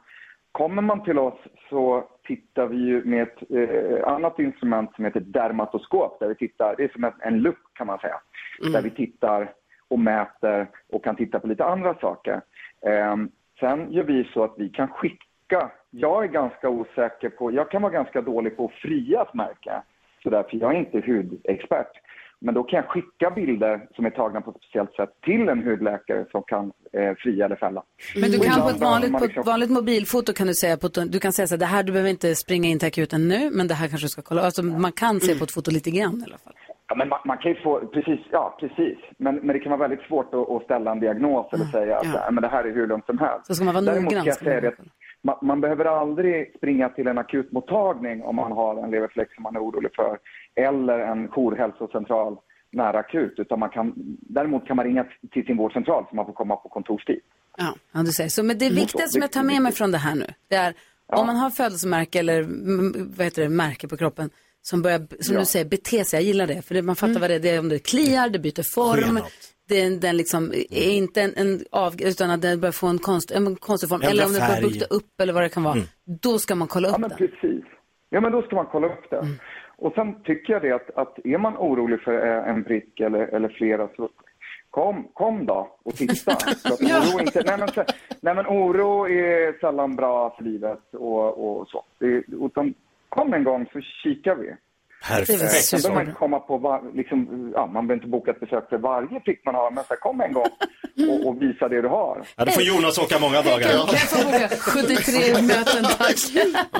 S24: kommer man till oss så tittar vi ju med ett eh, annat instrument som heter dermatoskop. Där vi tittar, det är som en, en lupp kan man säga. Där vi tittar och mäter och kan titta på lite andra saker. Ehm, sen gör vi så att vi kan skicka. Jag är ganska osäker på, jag kan vara ganska dålig på att fria ett märke. Så därför jag är inte hudexpert. Men då kan jag skicka bilder som är tagna på ett speciellt sätt till en hudläkare som kan eh, fria eller fälla.
S2: Men du
S24: Och
S2: kan
S24: ibland
S2: på
S24: behöver
S2: ett vanligt,
S24: man
S2: på
S24: liksom-
S2: ett vanligt mobilfoto kan du säga, på, ett- du kan säga så här, det här du behöver inte springa in till akuten nu, men det här kanske du ska kolla. Alltså, man kan se på ett foto lite grann i alla fall.
S24: Ja, men man, man kan ju få, precis, ja precis. Men, men det kan vara väldigt svårt att, att ställa en diagnos eller säga att "Nej, men det här är hur lugnt som helst.
S2: Mm, Så ska man vara
S24: Däremot
S2: noggrann,
S24: kan jag
S2: ska man
S24: säga det att man, man behöver aldrig springa till en akutmottagning om man har en leverfläck som man är orolig för eller en jourhälsocentral nära akut. Utan man kan, däremot kan man ringa t- till sin vårdcentral så man får komma på kontorstid.
S2: Ja, du säger så. Men det
S24: Mm.
S2: viktiga som jag tar med mig från det här nu, det är om man har födelsemärke eller mm, vad heter det, märke på kroppen som börjar, som
S4: Ja.
S2: du säger, bete sig. Jag gillar det, för det, man fattar vad det är. Det är om det kliar, det byter form.
S4: Skenat.
S2: Den, den liksom är inte en, en av, utan att den börjar få en, konst, en konstig form.
S24: Ändra
S2: eller om den börjar
S24: färg.
S2: bukta upp eller vad det kan vara.
S24: Mm.
S2: Då ska man kolla upp den.
S24: Precis. Ja, men då ska man kolla upp det.
S2: Mm.
S24: Och sen tycker jag det att, att är man orolig för eh, en prick eller, eller flera så kom, kom då och titta. Så att oro, inte, nej, men, så- nej, men oro är sällan bra för livet och, och så. Det, är- utan kom en gång så kikar vi.
S7: Perfekt.
S24: Eh, Sen behöver man
S7: Superbra.
S24: inte komma på, var, liksom, ja, man behöver inte boka ett besök för varje fick man ha, men så här, kom en gång och, och visa det du har.
S6: Ja, då får Jonas åka många dagar.
S2: Jag får boka 73 möten, tack.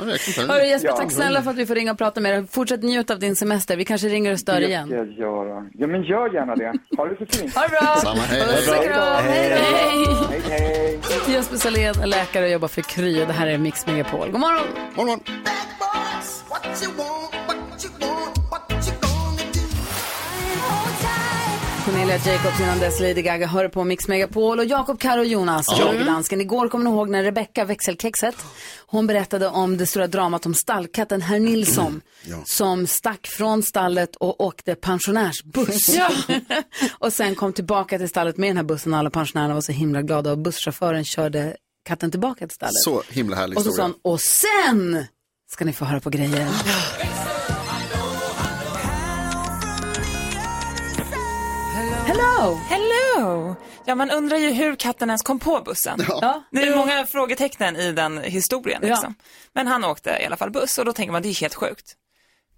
S24: mm.
S2: Hörru Jesper, tack snälla för att vi får ringa och prata med dig. Fortsätt njut av din semester. Vi kanske ringer och stör
S24: Det
S2: igen.
S24: ska jag göra. Ja, men gör gärna det. Ha det så fint.
S2: Ha det bra.
S24: Samma, hej.
S2: Puss och kram. Hej då.
S24: Hej, hej.
S2: Jesper Salén är läkare och jobbar för Kry och det här är Mix Megapol. God morgon.
S20: morgon.
S2: Cornelia Jacobs innan dess Lady Gaga hör på Mix Megapol och Jakob, Karo och Jonas,
S7: Ja.
S20: Mm.
S2: jag och dansken. Igår kommer ni ihåg när Rebecca, växelkexet, hon berättade om det stora dramat om stallkatten herr Nilsson
S20: Mm.
S2: som stack från stallet och åkte pensionärsbuss. och sen kom tillbaka till stallet med den här bussen och alla pensionärerna var så himla glada och busschauffören körde katten tillbaka till stallet.
S20: Så himla härlig
S2: och så sa
S20: historia.
S2: hon, och sen ska ni få höra på grejer. Hello!
S22: Hello! Ja, man undrar ju hur katten ens kom på bussen. Det är många frågetecken i den historien. Liksom. Men han åkte i alla fall buss och då tänker man det är helt sjukt.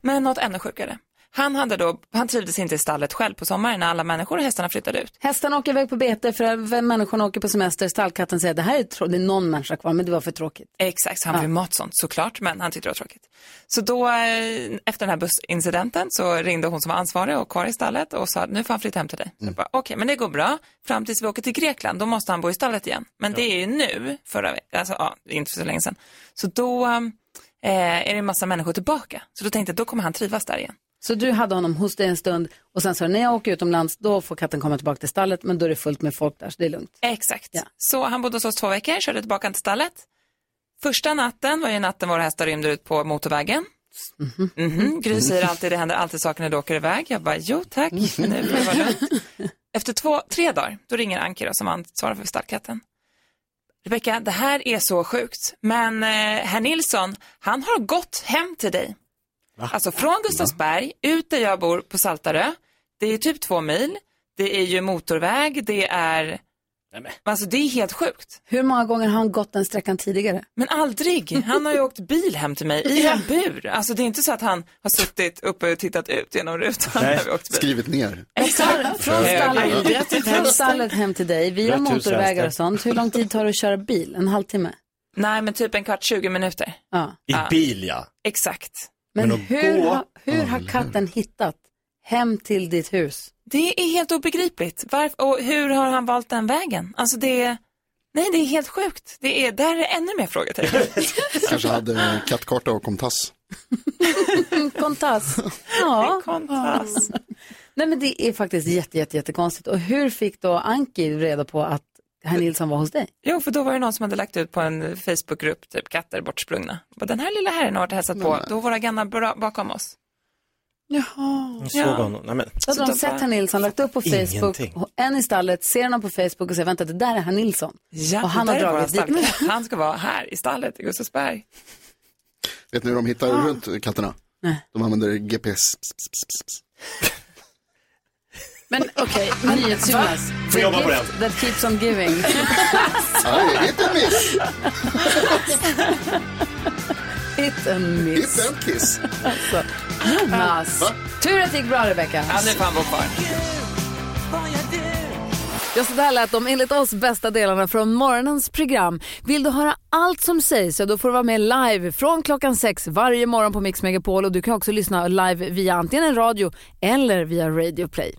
S22: Men något ännu sjukare. Han, hade då, han trivdes inte i stallet själv på sommaren när alla människor och hästarna flyttade ut.
S2: Hästarna åker iväg på bete för att vem- människorna åker på semester. Stallkatten säger det här är, trå- det är någon människa kvar men det var för tråkigt.
S22: Exakt, så han blev mat sånt såklart, men han tyckte det var tråkigt. Så då, eh, efter den här bussincidenten så ringde hon som var ansvarig och kvar i stallet och sa nu får han flytta hem till dig. Mm. Okej, men det går bra. Fram tills vi åker till Grekland, då måste han bo i stallet igen. Men det är ju nu, förra veckan, alltså ja, det är inte så länge sedan. Så då eh, är det en massa människor tillbaka. Så då tänkte jag, då kommer han trivas där igen.
S2: Så du hade honom hos dig en stund och sen sa du när jag åker utomlands då får katten komma tillbaka till stallet men då är det fullt med folk där så det är lugnt.
S22: Exakt. Så han bodde hos oss två veckor, körde tillbaka till stallet. Första natten var ju natten våra hästar rymde ut på motorvägen.
S7: Mm,
S19: Mm-hmm.
S22: Mhm. Gry säger alltid det händer alltid saker när du åker iväg. Jag bara, jo tack, men nu får det vara lugnt. Efter två, tre dagar, då ringer Anki då, som ansvarar för stallkatten. Rebecka, det här är så sjukt, men eh, herr Nilsson, han har gått hem till dig. Alltså från Gustavsberg, ut där jag bor på Saltarö. Det är typ två mil, det är ju motorväg, det är... Alltså det är helt sjukt.
S2: Hur många gånger har han gått den sträckan tidigare?
S22: Men aldrig. Han har ju åkt bil hem till mig i en bur. Alltså det är inte så att han har suttit uppe och tittat ut genom rutan.
S20: Nej, skrivit ner.
S22: Exakt.
S2: Från
S20: Ja.
S2: stallet, från stallet hem till dig via
S22: Grattis,
S2: motorvägar och
S22: hästar.
S2: sånt. Hur lång tid tar det att köra bil? En halvtimme?
S22: Nej, men typ en kvart, 20 minuter.
S2: Ja.
S6: I bil ja.
S22: Exakt.
S2: Men,
S6: Men att
S2: hur,
S6: gå-
S2: ha, hur har katten hittat hem till ditt hus?
S22: Det är helt obegripligt. Varför, och hur har han valt den vägen? Alltså det är, nej det är helt sjukt. Det är, där är ännu mer frågetecken.
S20: Kanske hade kattkarta och kompass.
S2: Kontas. Ja. Kontas. Nej men det är faktiskt jätte, jätte, jättekonstigt. Och hur fick då Anki reda på att herr Nilsson var hos dig?
S22: Jo, för då var det någon som hade lagt ut på en Facebookgrupp, typ katter bortsprungna. Och den här lilla herren har varit och hälsat på, då var våra grannar bra- bakom oss.
S2: Jaha.
S6: Såg honom. Nej, men.
S2: Så hade de sett herr Nilsson, lagt upp på Facebook,
S6: Ingenting.
S2: och en i stallet, ser honom på Facebook och säger vänta det där är herr Nilsson.
S22: Ja,
S2: och han
S22: där
S2: har
S22: är våra
S2: dragit dit.
S22: stallkatt. Han ska vara här i stallet i Gustavsberg.
S20: Vet ni hur de hittar runt katterna?
S2: Nej.
S20: De använder GPS.
S2: Men okej, okay, NyhetsJonas.
S20: Får jobba på
S2: gift That keeps on giving.
S20: Ja, hit and miss.
S2: Hit and miss.
S20: Hit and kiss.
S2: Alltså, Jonas. Tur att det gick bra Rebecca.
S22: Ja, nu får han bo kvar.
S9: Ja, så där lät de enligt oss bästa delarna från morgonens program. Vill du höra allt som sägs, ja, då får du vara med live från klockan sex varje morgon på Mix Megapol. Och du kan också lyssna live via antingen en radio eller via Radio Play.